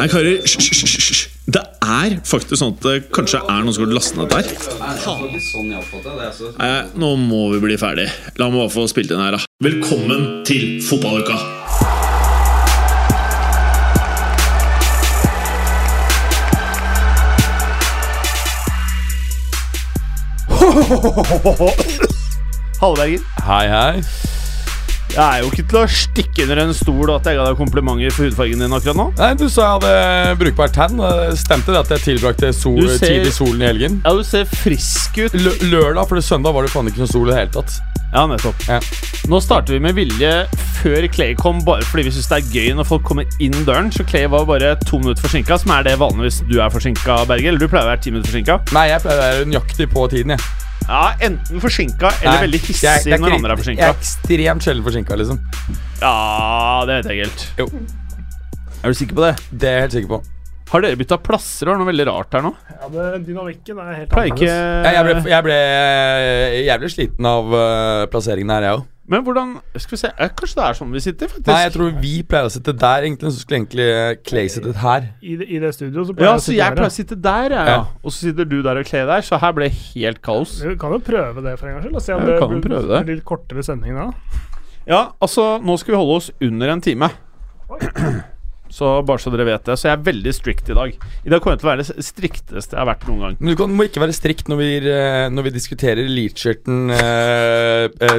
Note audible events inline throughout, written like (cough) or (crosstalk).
Nei, karer, hysj, hysj, hysj, hysj. Det er faktisk sånn at det kanskje er noen som har lastet ned der. Nei, det var ikke sånn jeg oppfattet det. altså. Nei, nå må vi bli ferdig. La meg bare få spilt inn her, da. Velkommen til (laughs) fotballuka! Halleberger. Hei, hei. Jeg er jo ikke til å stikke under en stol at jeg ga deg komplimenter for hudfargen din akkurat nå. Nei, Du sa jeg hadde brukbar tann. Det Stemte det at jeg tilbrakte sol, Du ser- tid i solen i helgen? Ja, du ser frisk ut. Lø lørdag, for det søndag var det faen ikke noe sol i det hele tatt. Ja, nettopp. Ja. Nå starter vi med vilje før Clay kom, bare fordi vi syns det er gøy når folk kommer inn døren. Så Clay var bare to minutter forsinka, som er det vanligvis du er forsinka, Berger. Eller du pleier å være ti minutter forsinka. Nei, jeg pleier å være nøyaktig på tiden. jeg Ja, enten forsinka eller Nei, veldig jeg- jeg hissig når ikke- andre er Jeg forsinka. er ekstremt sjelden forsinka, liksom. Ja, det vet jeg ikke helt. Jo, Er du sikker på det? Det er jeg helt sikker på. Har dere bytta plasser? Det var noe veldig rart her nå. Ja, det, dynamikken er helt Pleier ikke Jeg, jeg, ble, Eh. jeg, ble, jeg ble sliten av øh, plasseringen her, jeg òg. Men hvordan Skal vi se eh, Kanskje det er sånn vi sitter, faktisk. Nei, jeg tror vi pleier å sitte der, egentlig. Så skulle egentlig Clay sittet her. I, det- I det studioet så Ja, å så sitte jeg her, pleier å sitte der, jeg, ja. Ja. Og så sitter du der og kler der, så her ble det helt kaos. ja. Vi kan jo prøve det for en gangs skyld. og Se om Ja, vi det kan blir prøve det. blir litt kortere sending da. Ja, altså, nå skal vi holde oss under en time. Så bare så dere vet det. Så jeg er veldig strict i dag. I dag kommer jeg til å være det strikteste jeg har vært noen gang. Men du kan, må ikke være strikt når vi, øh, når vi diskuterer Leachurton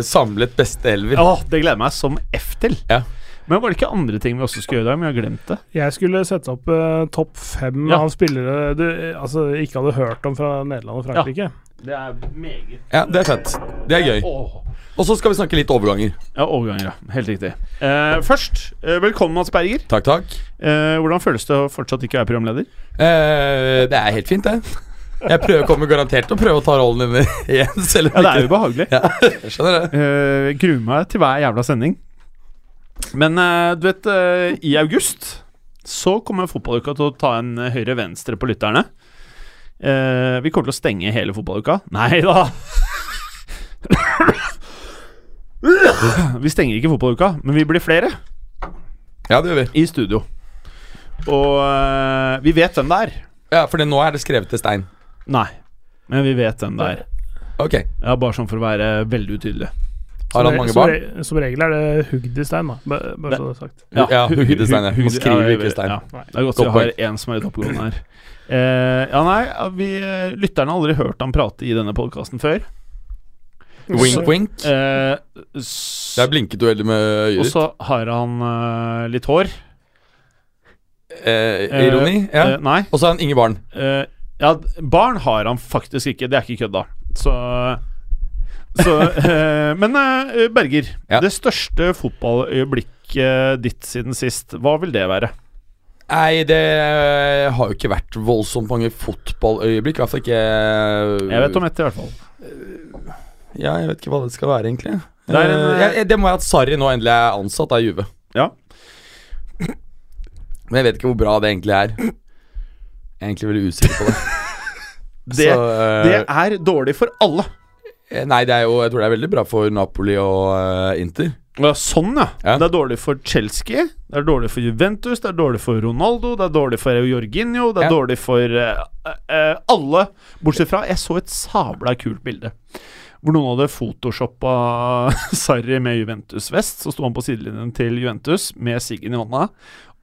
samlet beste elver. Ja, det gleder jeg meg som F til. Ja. Men var det ikke andre ting vi også skulle gjøre i dag? Men jeg har glemt det. Jeg skulle sette opp eh, topp fem Ja. av spillere du eh, altså, ikke hadde hørt om fra Nederland og Frankrike. Det er meget Ja, det er fett. Det er gøy. Og så skal vi snakke litt overganger. Ja, overganger, ja. Helt riktig. Eh, først, eh, velkommen, Mats Berger. Takk, takk. Eh, hvordan føles det å fortsatt ikke være programleder? Eh, det er helt fint, det. Jeg prøver, kommer garantert til å prøve å ta rollen din (laughs) igjen. Selv Ja, om det er ikke ubehagelig. Jeg skjønner det. Eh, gruer meg til hver jævla sending. Men eh, du vet, eh, i august så kommer fotballuka til å ta en eh, høyre-venstre på lytterne. Eh, vi kommer til å stenge hele fotballuka. Nei da! vi stenger ikke fotballuka, men vi blir flere Ja, det gjør vi. i studio. Og eh, vi vet hvem det er. Ja, For det, nå er det skrevet til stein. Nei, men vi vet hvem det er. Ok. Ja, bare sånn for å være veldig utydelig. Har han Som re- mange som, barn? re- som regel er det hugd i stein, da. Bare, bare så det er sagt. Ja, hugget i stein, ja. hugget- Man skriver ja, ikke i stein. ja. Det er godt vi Godt har en som er litt oppegående her. Eh, ja, nei, ja, vi, eh, lytterne har aldri hørt han prate i denne podkasten før. Wink, wink. Eh, s- Der blinket du veldig med og øyet ditt. så har han eh, litt hår. Eh, ironi. Eh, Ja. nei. Og så har han ingen barn. Eh, ja, barn har han faktisk ikke. Det er ikke kødda. Så så, (laughs) eh, men eh, Berger, Ja. det største fotballøyeblikket ditt siden sist, hva vil det være? Nei, det eh, har jo ikke vært voldsomt mange fotballøyeblikk. I hvert fall ikke eh, Jeg vet om ett, i hvert fall. Ja, jeg vet ikke hva det skal være, egentlig. Det er en, Eh, jeg, jeg- det må være at Sarri nå endelig er ansatt av Juve. Ja. Men jeg vet ikke hvor bra det egentlig er. Jeg er egentlig veldig usikker på det. (laughs) Det, Så, eh, det er dårlig for alle. Nei, det er jo Jeg tror det er veldig bra for Napoli og eh, Inter. Ja, sånn, ja. Ja. Det er dårlig for Chelsea, det er dårlig for Juventus, det er dårlig for Ronaldo, det er dårlig for Jorginho, det er Ja. dårlig for eh, eh, alle. Bortsett fra Jeg så et sabla kult bilde hvor noen hadde photoshoppa (laughs) Sarri med Juventus-vest. Så sto han på sidelinjen til Juventus med siggen i hånda.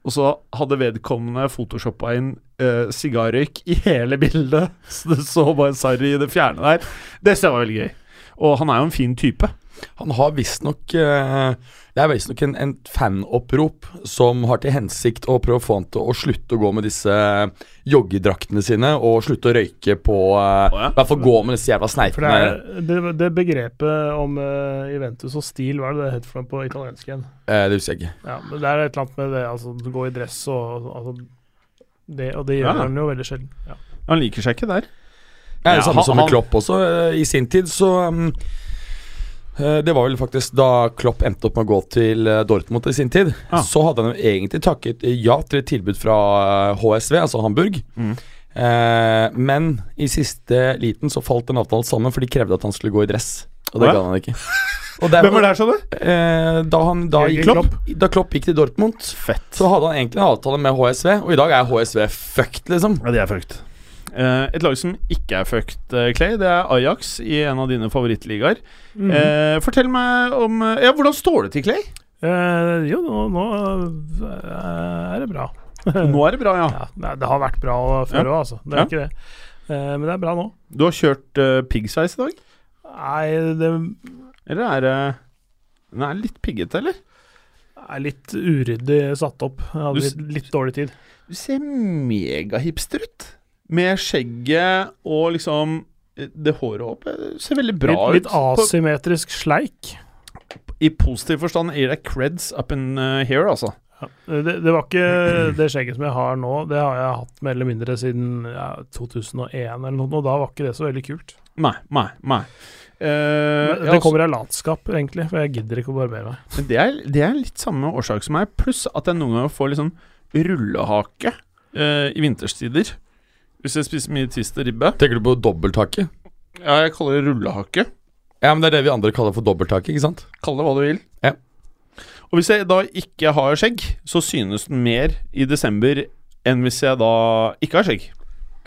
Og så hadde vedkommende photoshoppa inn eh, sigarrøyk i hele bildet. (laughs) Så det så bare Sarri i det fjerne der. Det synes jeg var veldig gøy. Og han er jo en fin type. Han har visstnok uh, Det er visstnok en, en fanopprop som har til hensikt å prøve å få han til å slutte å gå med disse eh, joggedraktene sine og slutte å røyke på eh, Å, ja. I hvert fall gå med disse jævla For det, sneipene. er, det, det begrepet om eh, Juventus og stil, hva er det det heter for noe på italiensk igjen? Eh, det husker jeg ikke. Ja, men det er et eller annet med det, altså gå i dress og altså, det, Og det Ja. gjør han jo veldig sjelden. Ja. Han liker seg ikke der. Ja, Ja, det samme han- som med han- Klopp også. eh, I sin tid så mm, eh, Det var vel faktisk da Klopp endte opp med å gå til eh, Dortmund i sin tid. Ah. Så hadde han jo egentlig takket ja til et tilbud fra eh, HSV, altså Hamburg. Mm. Eh, men i siste liten så falt den avtalen sammen, for de krevde at han skulle gå i dress. Og det Hva? kan han (laughs) ikke. Og der, Hvem var det her, sa du? Eh, da, han, da, Jørgen gikk, Klopp. da Klopp gikk til Dortmund, Fett. så hadde han egentlig en avtale med HSV, og i dag er HSV fucked, liksom. Ja, de er fucked. Eh, et lag som ikke er fucked, eh, Clay, det er Ajax i en av dine favorittligaer. Mm. eh, fortell meg om eh, Ja, hvordan står det til, Clay? Eh, jo, nå, nå eh, er det bra. Nå er det bra, ja. (laughs) Ja, nei, det har vært bra før òg, altså. Det er Ja. ikke det. Eh, men det er bra nå. Du har kjørt uh, piggsveis i dag? Nei, det Eller er det Den er litt piggete, eller? er litt uryddig satt opp. Jeg Du hadde s- litt, litt dårlig tid. Du ser megahipster ut. Med skjegget og liksom eh, det håret opp. Eh, Ser veldig bra litt, litt ut. På- asymmetrisk sleik. I positiv forstand gir deg creds up in eh, here, altså. Eh, Det, det (clears throat) var ikke det skjegget som jeg har nå, det har jeg hatt mer eller mindre siden ja, 2001 eller noe, og da var ikke det så veldig kult. Nei, nei, nei. Eh, Men ja, det altså, kommer av latskap, egentlig, for jeg gidder ikke å barbere meg. men det, er, det er litt samme årsak som meg, pluss at jeg noen ganger får litt sånn rullehake eh, i vinterstider. Hvis jeg spiser mye twist og ribbe. Tenker du på dobbelthake? Ja, jeg kaller det rullehake. Ja, men det er det vi andre kaller for dobbelthake, ikke sant? Kall det hva du vil. Ja. Og hvis jeg da ikke har skjegg, så synes den mer i desember enn hvis jeg da ikke har skjegg.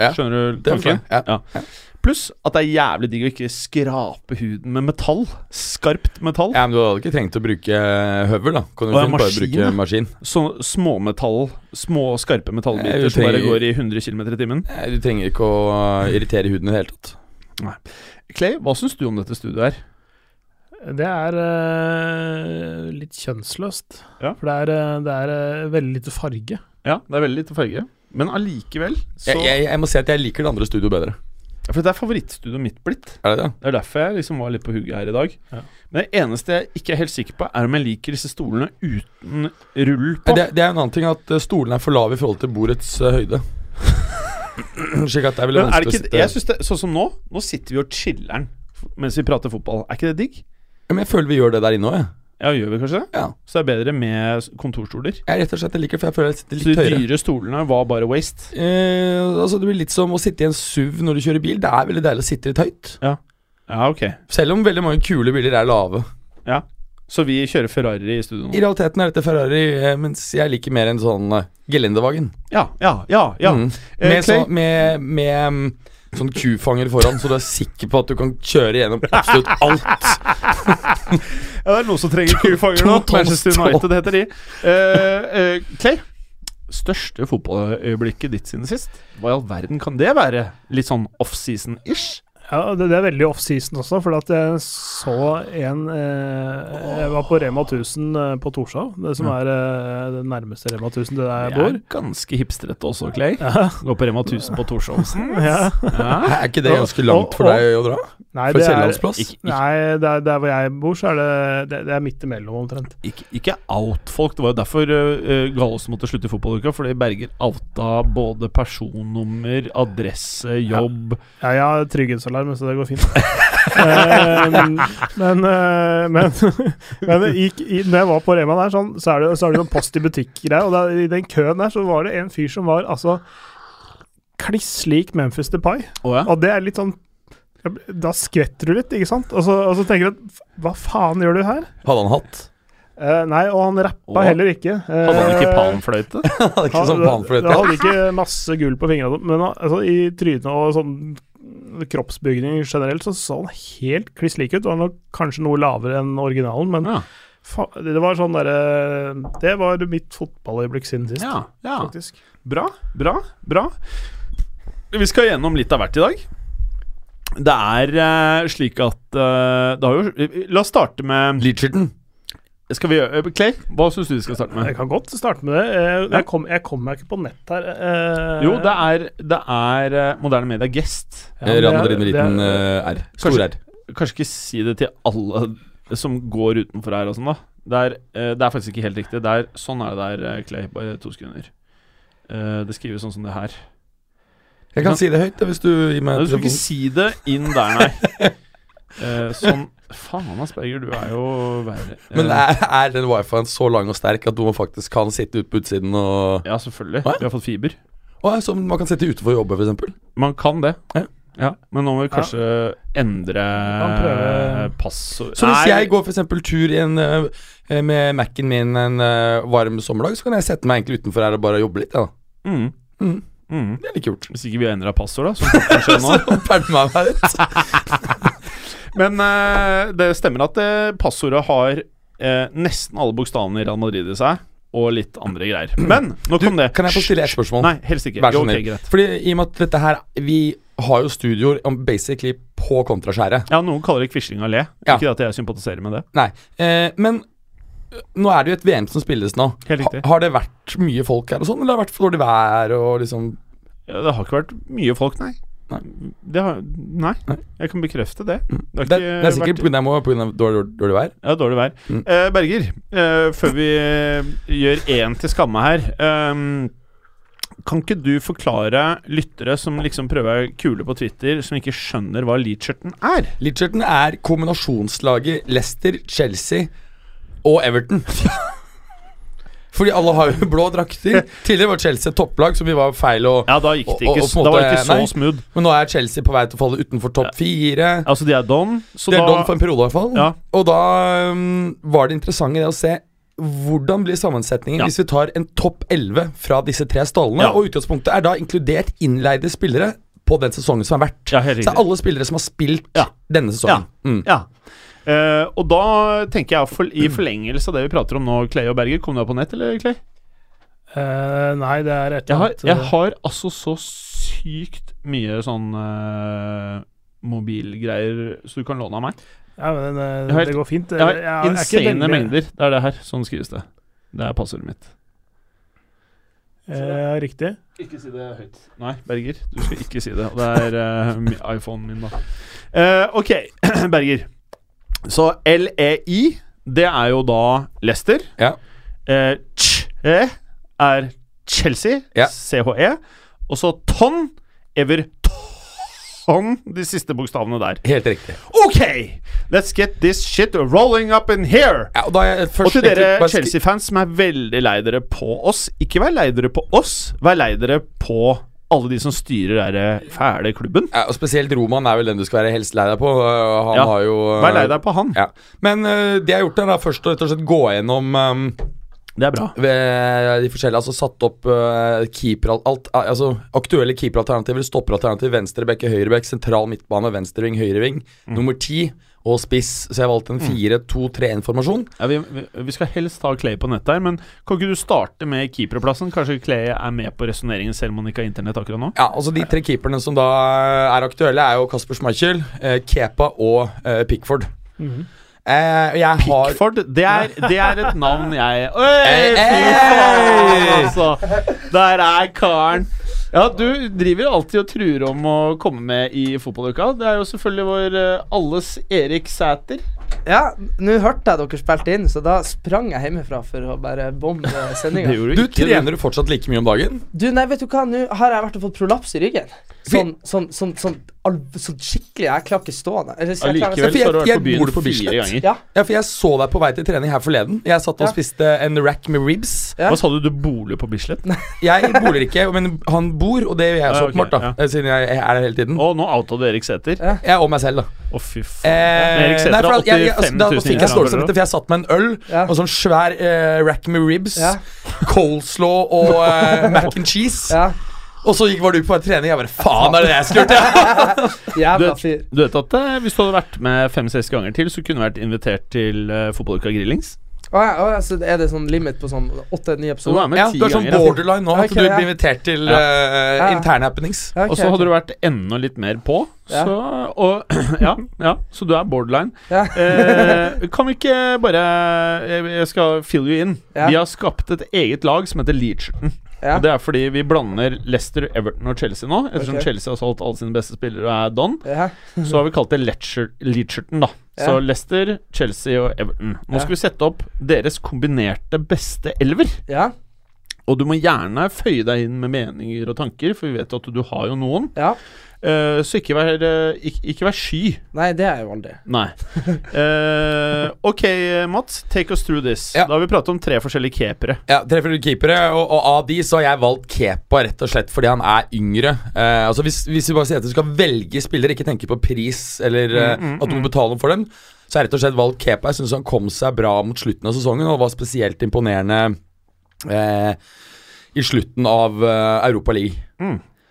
Ja, Skjønner du det er tanken? fair, ja, Pluss at det er jævlig digg å ikke skrape huden med metall. Skarpt metall. Ja, men du hadde ikke trengt å bruke eh, høvel, da. Kan du Å, ja, fint bare maskin, bruke ja. maskin. Sånne småmetall, Sånn små skarpe Jeg vil metallbiter som bare tenke- går i 100 km i timen. Eh, Du trenger ikke å irritere huden i det hele tatt. Clay, hva syns du om dette studioet her? Det er eh, litt kjønnsløst, Ja. for det er, eh, det er eh, veldig lite farge. Ja, det er veldig lite farge, men allikevel så Jeg, jeg, jeg må si at jeg liker det andre studioet bedre. For dette er favorittstudioet mitt blitt. Er det det? Det er derfor jeg liksom var litt på hugget her i dag. Ja. Men det eneste jeg ikke er helt sikker på, er om jeg liker disse stolene uten rull Ja, på. Det, det er en annen ting at eh, stolene er for lave i forhold til bordets eh, høyde. (clears throat) Slik at det er veldig Men er det vanskelig å ikke, sitte jeg synes det, Sånn som nå, nå sitter vi og chiller'n mens vi prater fotball. Er ikke det digg? Ja, Men jeg føler vi gjør det der inne òg, jeg. Ja, gjør vi kanskje det? Ja. Så det er bedre med s- kontorstoler. Jeg rett og slett jeg liker det, for jeg føler jeg sitter Så litt de høyere. dyre stolene var bare waste. Eh, altså Det blir litt som å sitte i en SUV når du kjører bil. Det er veldig deilig å sitte litt høyt. Ja, ok. Selv om veldig mange kule biler er lave. Så vi kjører Ferrari i studio I nå. realiteten er dette Ferrari, eh, mens jeg liker mer en sånn eh, gelendevagen. Ja, ja, ja. ja. Mm. Eh, Med, Clay? sånn- med, med mm, sånn kufanger foran, så du er sikker på at du kan kjøre gjennom absolutt alt. Ja, det er noen som trenger kufanger to nå. tonn Manchester stål. United heter de. Eh, eh, Clay, største fotballøyeblikket ditt siden sist? Hva i all verden kan det være? Litt sånn offseason-ish? Ja, det, det er veldig off-season også, for at jeg så en eh, Jeg var på Rema 1000 eh, på Torshov, det som er eh, det nærmeste Rema 1000 til der jeg Det bor. (laughs) er ganske hipstrete også, (laughs) Clay. Ja. Gå på Rema 1000 på Torshovsen. Ja. (laughs) Ja. Er ikke det ganske langt for Og- og- deg å dra? Nei, For det er, Kiellandsplass? Ikke, ikke, nei der, der hvor jeg bor, så er det, det, det er midt imellom, omtrent. ikke, ikke out folk. Det var jo derfor uh, Gallos måtte slutte i fotballuka. Fordi Berger outa både personnummer, adresse, jobb Ja, jeg har trygghetsalarm, så det går fint. Eh, men eh, men, (laughs) men det gikk, i, når jeg var på Rema der, sånn, så er det, så er det sånn post i butikk-greie. Og der, i den køen der så var det en fyr som var altså kliss lik Memphis Depay. Å ja. Og det er litt sånn Da skvetter du litt, ikke sant? Og så, og så tenker du at hva faen gjør du her? Hadde han (laughs) hatt? Eh, nei, og han rappa Å. heller ikke. Eh, Hadde han ikke palmfløyte? (laughs) Hadde ikke sånn Han- panfløyte? han hadde ikke masse gull på fingrene, men han- altså, i trynet og sånn kroppsbygning generelt, så så han helt kliss lik ut. Og han var kanskje noe lavere enn originalen, men Ja. fa det var sånn derre Det var mitt fotballøyeblikk siden sist, ja, ja. faktisk. Bra, bra, bra. Vi skal gjennom litt av hvert i dag. Det er eh, slik at eh, Det har jo La oss starte med Leacherton. Skal vi gjøre Clay, hva syns du vi skal starte Jeg med? kan godt starte med det. Eh, Ja. Jeg kom, jeg kom meg ikke på nett her. eh, Jo, det er, det er eh, moderne media gest. ja, men det Real er- Madrid med det er- liten eh, R. Stor Kanskje- R. Kanskje ikke si det til alle som går utenfor her og sånn, da. Det er, eh, det er faktisk ikke helt riktig. Det er, sånn er det der, eh, Clay. Bare to sekunder. Eh, det skrives sånn som det her. Jeg kan si det høyt, da, hvis du gir Nei, meg du skal ikke telefonen. si det inn der, nei. (laughs) Eh, sånn Faen, Asperger, du er jo verre. Eh, Men er, er den wifien så lang og sterk at man faktisk kan sitte ute på utsiden og Ja, selvfølgelig. Hva? Vi har fått fiber. Å, ja, Som man kan sitte utenfor og jobbe, f.eks.? Man kan det. Ja. Ja, men nå må vi kanskje endre kan prøve- passord Så hvis Nei, jeg går for eksempel tur i en, eh, med Mac-en min en eh, varm sommerdag, så kan jeg sette meg egentlig utenfor her og bare jobbe litt. Ja. da. mm, Mm, mm. det er litt (laughs) kult. Hvis ikke vi har endra passord, da. Som folk kan skjønne (laughs) Så nå. pælmer meg meg ut. Men eh, det stemmer at eh, passordet har eh, nesten alle bokstavene i Real Madrid i seg, og litt andre greier. Men nok om det. Kan jeg få stille et spørsmål? Nei, helst ikke. Vær så Jo, ok, snill. greit. Fordi i og med at dette her Vi har jo studioer om basically på kontraskjæret. Ja, noen kaller det Quisling allé. Ja. Ikke at jeg sympatiserer med det. Nei. Eh, men ø, nå er det jo et VM som spilles nå. Helt riktig. har det vært mye folk her og sånn, eller har det vært for dårlig vær og liksom Ja, Det har ikke vært mye folk, nei. Nei. Det har, nei, Nei. Mm. jeg kan bekrefte det. Det, har det, ikke er sikkert vært- pga. dårlig, dårlig, dårlig vær. Ja, dårlig vær. Mm. Eh, Berger, eh, før vi eh, gjør én til skamme her ehm, Kan ikke du forklare lyttere som liksom prøver å være kule på Twitter, som ikke skjønner hva Leacherton er? Litcherton er kombinasjonslaget Leicester, Chelsea og Everton. (laughs) Fordi alle har jo blå (laughs) drakter. Tidligere var Chelsea et topplag, så vi var feil å Ja, da gikk det Og- og ikke, på en s- da var det måte- ikke så nei. smooth. Men nå er Chelsea på vei til å falle utenfor topp fire. Altså, de er don, så Det er da Don for en periode, i hvert fall. Ja. Og da um, var det interessant i det å se hvordan blir sammensetningen Ja. hvis vi tar en topp 11 fra disse tre stallene? Ja. Og utgangspunktet er da inkludert innleide spillere på den sesongen som har vært. Ja, helt Så det riktig. er alle spillere som har spilt Ja. denne sesongen. Mm. Ja. Eh, og da tenker jeg for, i forlengelse av det vi prater om nå, Clay og Berger. Kom du deg på nett, eller, Clay? Eh, nei, det er et Jeg eller har, annet eh, jeg har altså så sykt mye sånn eh, mobilgreier så du kan låne av meg. ja, men, eh, jeg har Det går fint. Jeg har Jeg er ikke insane veldig- mengder. Det er det her. Sånn skrives det. Det er passordet mitt. Eh, riktig. Ikke si det høyt. Nei, Berger. Du skal ikke si det. Og det er eh, mi- iPhonen min, da. Eh, ok, (clears throat) Berger. Så LEI, det er jo da Leicester. Ja. Eh, CHE er Chelsea. Ja. CHE. Og så TON, Everton, de siste bokstavene der. Helt riktig. Ok, let's get this shit rolling up in here. Ja, og da er jeg Og først til egentlig dere bare sk- Chelsea-fans som er veldig lei dere på oss Ikke vær lei dere på oss, vær lei dere på alle de som styrer denne fæle klubben. Ja, og Spesielt Roman er vel den du skal være helst lei deg på. øh, Han Ja. har jo øh, Vær lei deg på han. Ja. Men øh, det jeg har gjort, er da først å rett og slett gå gjennom um, Det er bra. ved de forskjellige, altså satt opp eh, keeper, alt, eh, altså aktuelle keeperalternativer, stopperalternativ, venstreback, høyreback, sentral midtbane, venstreving, høyreving, nummer ti og spiss. Så jeg valgte en 4-2-3-informasjon. Ja, vi, vi, vi skal helst ha Clay på nett her, men kan ikke du starte med keeperplassen? Kanskje Clay er med på resonneringen selv om han ikke har internett akkurat nå? Ja, altså De tre keeperne som da eh, er aktuelle, er jo Kasper Schmeichel, eh, Kepa og eh, Pickford. Eh, og jeg har Pickford, det er, det er et navn jeg Øy, Hey, fy faen, hey! altså! Der er karen. Ja, du driver alltid og truer om å komme med i fotballuka. Det er jo selvfølgelig vår eh, alles Erik Sæter. Ja, nå hørte jeg dere spilte inn, så da sprang jeg hjemmefra for å bare (laughs) bombe sendinga. gjorde Du trener du fortsatt like mye om dagen? Du, nei, vet du hva, nå har jeg vært og fått prolaps i ryggen. Sånn, sånn, sånn, sånn, alv- sånn skikkelig. Jeg klarer ikke stående. Eller, så jeg klarer- Allikevel så har du altså, Jeg- vært på jeg bor byen på fire Bislett. ganger. Ja. Ja, for jeg så deg på vei til trening her forleden. Jeg satt og Ja. spiste en rack med ribs. Ja. Hva sa du, du boliger på Bislett? Jeg boliger ikke, men han bor, og det gjør jeg Ah, så ok, åpenbart, da. Siden jeg jeg er der hele tiden. Å, nå outa du Erik Sæter. Å, Jeg er om meg selv, da. fy faen. Eh, Erik Sæter nei, for har at jeg- jeg- 85 000 Da da fikk jeg innbyggere. stålsett etter, for jeg satt med en øl Ja. Altså, og sånn svær eh, rack med ribs, Ja. coleslaw og eh, mac and cheese. Ja, Og så gikk- var du på trening, jeg bare Faen, er det det jeg skulle gjort? ja? (laughs) Du, jævla fyr. vet- du vet at eh, hvis du hadde vært med fem-seks ganger til, så kunne du vært invitert til uh, fotballuka Grillings? Å ja, å ja, så er det sånn limit på sånn åtte-ni Så du episoder? er med Ja, ti du er sånn ganger. ja. borderline nå, at Ok, du ja. blir invitert til Ja. eh, Ja. interne happenings. Ja, ok, Og så hadde ok. du vært enda litt mer på, Ja. så og, (clears throat) ja, ja, så du er borderline. Ja. Eh, kan vi ikke bare Jeg jeg skal fill you in. Ja. Vi har skapt et eget lag som heter Leacherton. Ja. Og det er fordi vi blander Leicester, Everton og Chelsea nå. Ettersom Ok. Chelsea har solgt alle sine beste spillere og er don, Ja. så har vi kalt det Lecher- Leacherton, da. Så Ja. Leicester, Chelsea og Everton. Nå Ja. skal vi sette opp deres kombinerte beste elver. ja, Og du må gjerne føye deg inn med meninger og tanker, for vi vet jo at du har jo noen. ja. Eh, så ikke vær, eh, ikke, ikke vær sky. Nei, det er jeg jo aldri. Nei. (laughs) Eh, ok, Mats. Take us through this. Ja. Da har vi pratet om tre forskjellige keepere. Ja, tre forskjellige keepere, og, og av de så har jeg valgt Kepa rett og slett fordi han er yngre. Eh, altså hvis, hvis vi bare sier at du skal velge spillere, ikke tenke på pris eller eh, at du må betale for dem, så har jeg rett og slett valgt Kepa. Jeg syns han kom seg bra mot slutten av sesongen og var spesielt imponerende eh, i slutten av eh, Europa League.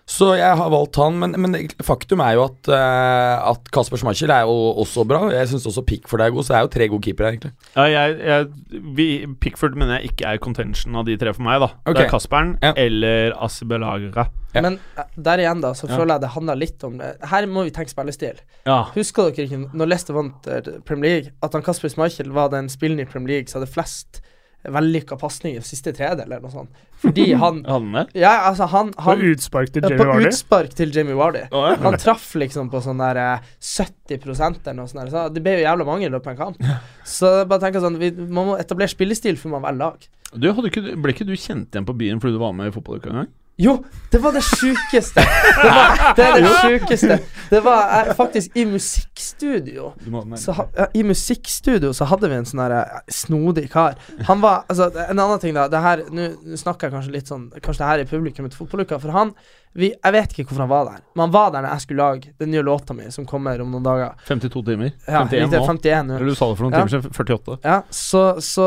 Så jeg har valgt han, men, men faktum er jo at, eh, at Kasper Schmeichel er jo også bra. Jeg syns også Pickford er god, så det er jo tre gode keepere, egentlig. Ja, jeg, jeg, vi, Pickford mener jeg ikke er contention av de tre for meg. da Det Ok. er Kasperen Ja. eller Asibelaga. Ja. Men eh, der igjen, da, så føler jeg det handler litt om det. Her må vi tenke spillestil. Ja. Husker dere ikke når Leicester vant eh, Premier League, at han Kasper Schmeichel var den spilleren i Premier League som hadde flest eh, vellykka pasninger i siste tredel, eller noe sånt? Fordi (laughs) han Hadde han det? Ja, altså, han, På han utspark til ja, Jamie På Vardy. utspark til Jamie Wardy. Å, ja. Han traff liksom på sånn der eh, 70 eller noe sånt. Der. Så det ble jo jævla mange i løpet av en kamp. Så jeg bare tenker sånn vi, Man må etablere spillestil før man velger lag. Du, hadde ikke, du- ble ikke du kjent igjen på byen fordi du var med i fotballuka en gang? Jo, det var det sjukeste! Det, var- (laughs) det er det sjukeste. Det var eh, faktisk i musikkstudio. Du må ha den her. Så, ha- ja, I musikkstudio så hadde vi en sånn her eh, snodig kar. Han var Altså, en annen ting, da. Det her Nå nå snakker jeg kanskje litt sånn Kanskje det her er publikum til fotballuka, for han vi, Jeg vet ikke hvorfor han var der, men han var der når jeg skulle lage den nye låta mi, som kommer om noen dager. 52 timer? Ja, 51 riktig, nå? 51 nå. Eller du sa det for noen Ja. timer siden. 48. Ja, så, så,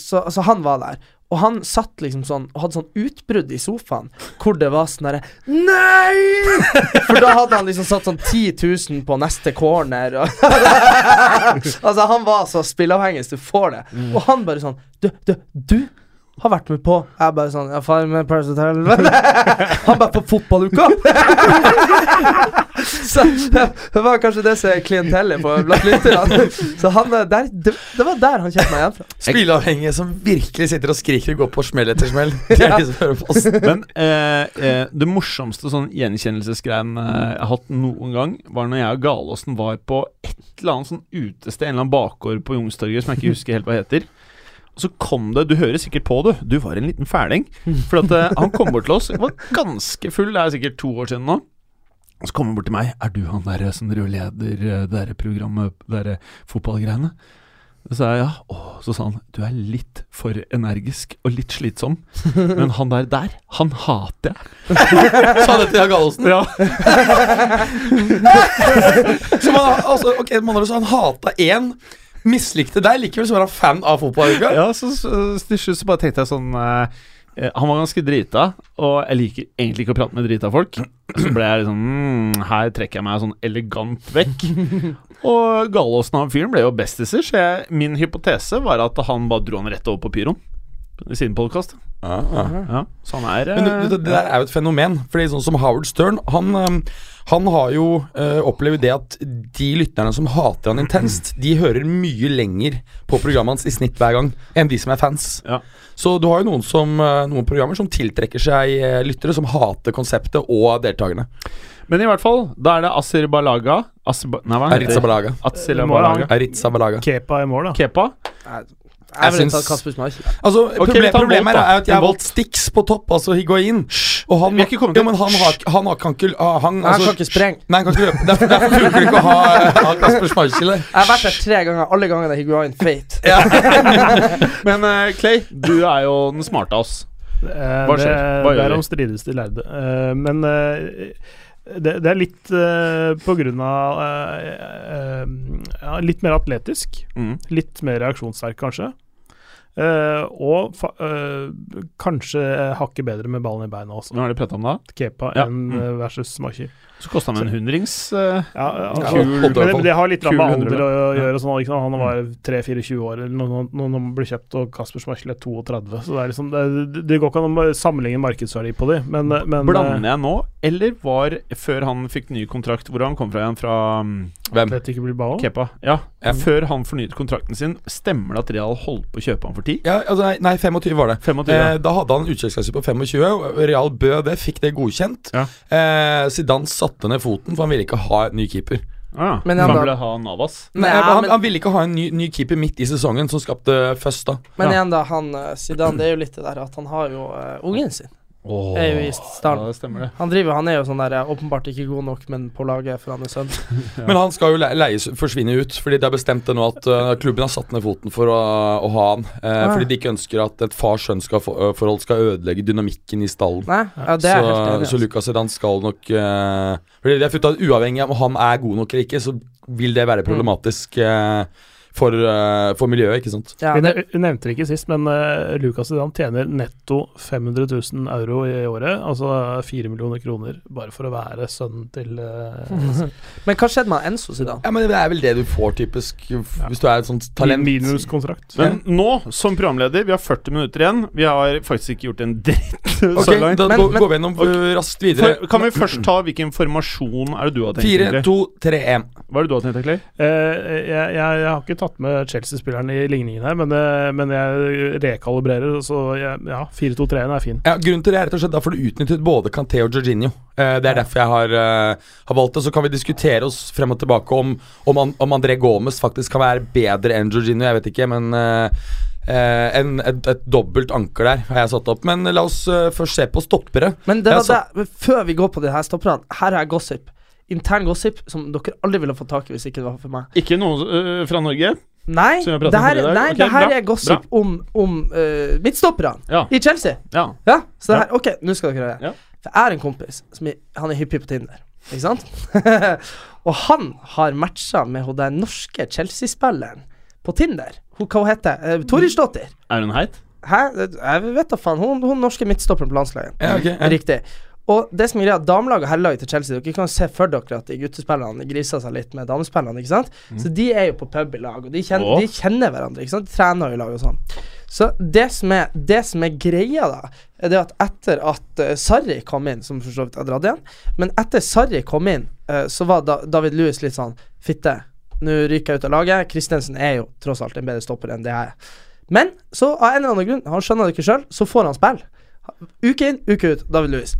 så, så han var der. Og han satt liksom sånn og hadde sånn utbrudd i sofaen hvor det var sånn derre Nei! For da hadde han liksom satt sånn 10 000 på neste corner. Og (laughs) altså, han var så spilleavhengig som du får det. Og han bare sånn Du, du, du har vært med på Jeg bare sånn Ja, far med Paris Hotel. (laughs) han bare på fotballuka! (laughs) Så det var kanskje det som er klientellet på blant lytterne. Så han eh, der, det, det var der han kjente meg igjen fra. Spilleavhengige som virkelig sitter og skriker og går på smell etter smell. Det er de som hører på oss. Men eh, eh, det morsomste sånn gjenkjennelsesgreien eh, jeg har hatt noen gang, var når jeg og Galåsen var på et eller annet sånn utested, en eller annen bakgård på Youngstorget som jeg ikke husker helt hva heter. Og så kom det Du hører sikkert på, du. Du var en liten fæling. For at, eh, han kom bort til oss, var ganske full, det er sikkert to år siden nå. Og så kommer han bort til meg. 'Er du han derre som rørleder eh, det derre programmet, det derre fotballgreiene?' Så sa jeg ja. Åh, så sa han 'Du er litt for energisk og litt slitsom'. Men han der der, han hater jeg. (laughs) Sa det til Jan Gallosen. Ja. Som han, altså, ok, man har også, han hata én, mislikte deg, likevel så var han fan av fotballuka. ja så, så, så til slutt så bare tenkte jeg sånn eh, eh, Han var ganske drita, og jeg liker egentlig ikke å prate med drita folk. Så ble jeg liksom mm, Her trekker jeg meg sånn elegant (laughs) vekk. Og Gallåsen og han fyren ble jo bestiser, så jeg, min hypotese var at han bare dro han rett over på pyroen. I sin podkast. Ja, så han er eh, Men du, du, det der er jo et fenomen. Fordi sånn som Howard Stern, han, øhm, han har jo øh, opplevd det at de lytterne som hater han intenst, de hører mye lenger på programmet hans i snitt hver gang enn de som er fans. Ja. Så du har jo noen, som, øh, noen programmer som tiltrekker seg øh, lyttere som hater konseptet og deltakerne. Men i hvert fall, da er det Asirbalaga Asirba, Nei, hva Aritza heter Balaga. Atsirbalaga. Aritza Balaga. Kepa i mål, da. Kepa. Jeg ville syns- tatt Kasper Schmeichel. Altså, proble vi tar en problemet Volt, her da. er at jeg En har Volt. valgt Stix på topp, altså Higuain. Og han, vi har ikke kommet jo, til- men han, har, ikke- han har, kan ikke ah, han, han kan ikke spreng. Nei, han kan ikke løpe. Derfor, derfor funker det ikke å ha, (laughs) ha Kasper Schmeichel der. Jeg har vært der tre ganger. Alle gangene er Higuain feit. Men eh, Clay, du er jo den smarte av oss. Eh, Hva skjer? det- Hva gjør vi? Derom strides de lærde. Eh, men eh, det, det er litt eh, på grunn av eh, eh, ja, Litt mer atletisk. Mm. Litt mer reaksjonssterk, kanskje. Eh, og fa eh, kanskje hakket bedre med ballen i beina også. Nå har de prata om det. Kepa Ja, enn mm. eh, versus Smachi. Så kosta han en hundrings. eh, Ja, Ja, altså, holdt det i hvert men det, fall. det har litt grann Kul med alder å hundrelapp. å gjøre. og Sånn, liksom. Han var Mm. 3-24 år eller noe- noe- når han ble kjøpt, og Kasper Schmeichel er 32. Så det, er liksom, det, det går ikke an å sammenligne markedsverdi på de, men, eh, men Blander jeg nå, eller var før han fikk ny kontrakt Hvor han kom fra igjen? Fra mm, Hvem? Atletico Bilbao Kepa? Ja. Ja. Før han fornyet kontrakten sin, stemmer det at Real holdt på å kjøpe han for 10? Ja, altså, nei, nei, 25 var det. 25, Eh, ja. da hadde han en utkjøpsklasse på 25. og Real Bø det, fikk det godkjent. Ja. Eh, Zidane satte ned foten, for han ville ikke ha en ny keeper. Ah, Men men han han da- ville ha Navas. Nei, (laughs) Nei, han, men- han ville ikke ha en ny, ny keeper midt i sesongen, som skapte først da. Men Ja. igjen, da, han eh, Zidane, det er jo litt det der at han har jo eh, ungen sin. Åh, er jo i starten. Ja, det stemmer det. Han driver, han er jo sånn der eh, åpenbart ikke god nok, men på laget for han er sønn. Men han skal jo le- leies, forsvinne ut, fordi det er bestemt det nå at eh, klubben har satt ned foten for å, å ha han. eh, Ah. Fordi de ikke ønsker at et far-sønn-forhold skal ødelegge dynamikken i stallen. Nei, ja, det er jeg helt så, enig i. så altså. Lucas Heran skal nok eh, Fordi jeg har funnet ut at Uavhengig av om han er god nok eller ikke, så vil det Mm. være problematisk eh, for, eh, for miljøet, ikke sant? Ja, Vi det, ne- vi nevnte det ikke sist, men eh, Lucas Zidane tjener netto 500 000 euro i året. Altså 4 millioner kroner bare for å være sønnen til eh, men hva skjedde med Enzo Zidane? Ja, men Det er vel det du får, typisk, f- hvis du er et sånt talent. minuskontrakt. Men nå, som programleder, vi har 40 minutter igjen. Vi har faktisk ikke gjort en dritt Ok, så langt. Da Men- går, men- går vi gjennom eh, raskt videre. For, kan vi først ta hvilken formasjon er det du har tenkt? Fire, egentlig? to, tre, én. Hva er det du har tenkt, Clay? Eh, jeg, jeg, jeg har ikke tatt med Chelsea-spilleren i ligningen her, men, eh, men jeg rekalibrerer, så jeg, ja, 4-2-3-en er fin. Ja, grunnen til det er rett og slett derfor du utnyttet både Kanté og Jorginho. Eh, det er derfor jeg har, eh, har valgt det. Så kan vi diskutere oss frem og tilbake om, om, an, om André Gomes faktisk kan være bedre enn Jorginho. Jeg vet ikke, men eh, eh, en, et, et dobbelt anker der har jeg satt opp. Men la oss eh, først se på stoppere. Men det Jeg var sa- det, men før vi går på det her stopperne, her er gossip. Intern gossip som dere aldri ville fått tak i hvis ikke det var for meg. Ikke noe øh, fra Norge? Nei, Som vi har pratet det om her, tidligere i dag. nei, Ok, det her bra, er gossip om, om eh, midtstopperne Ja. i Chelsea. ja. Ja, så Ja. det her, ok, nå skal dere høre. Ja. For jeg er en kompis som i- han er hyppig på Tinder, ikke sant? (laughs) og han har matcha med hun den norske Chelsea-spilleren på Tinder. Hun, hva hun heter hun? Torisdottir. Er hun heit? Hæ? Jeg vet da faen. Hun, hun norske midtstopperen på landslaget. Ja, ok, ja. Riktig. Og det som er greia, damelaget og herrelaget til Chelsea Dere kan jo se for dere at de guttespillerne griser seg litt med damespillerne. ikke sant? Så de er jo på pub i lag, og de kjenner, Åh. de kjenner hverandre. ikke sant? De trener jo i lag og sånn. Så det som, er, det som er greia, da, er det at etter at eh, Sarri kom inn, som for så vidt har dratt igjen, men etter Sarri kom inn, eh, så var da, David Lewis litt sånn Fitte, nå ryker jeg ut av laget. Christensen er jo tross alt en bedre stopper enn det jeg er. Men så, av en eller annen grunn, han skjønner det ikke sjøl, så får han spill. Uke inn, uke ut. David Louis.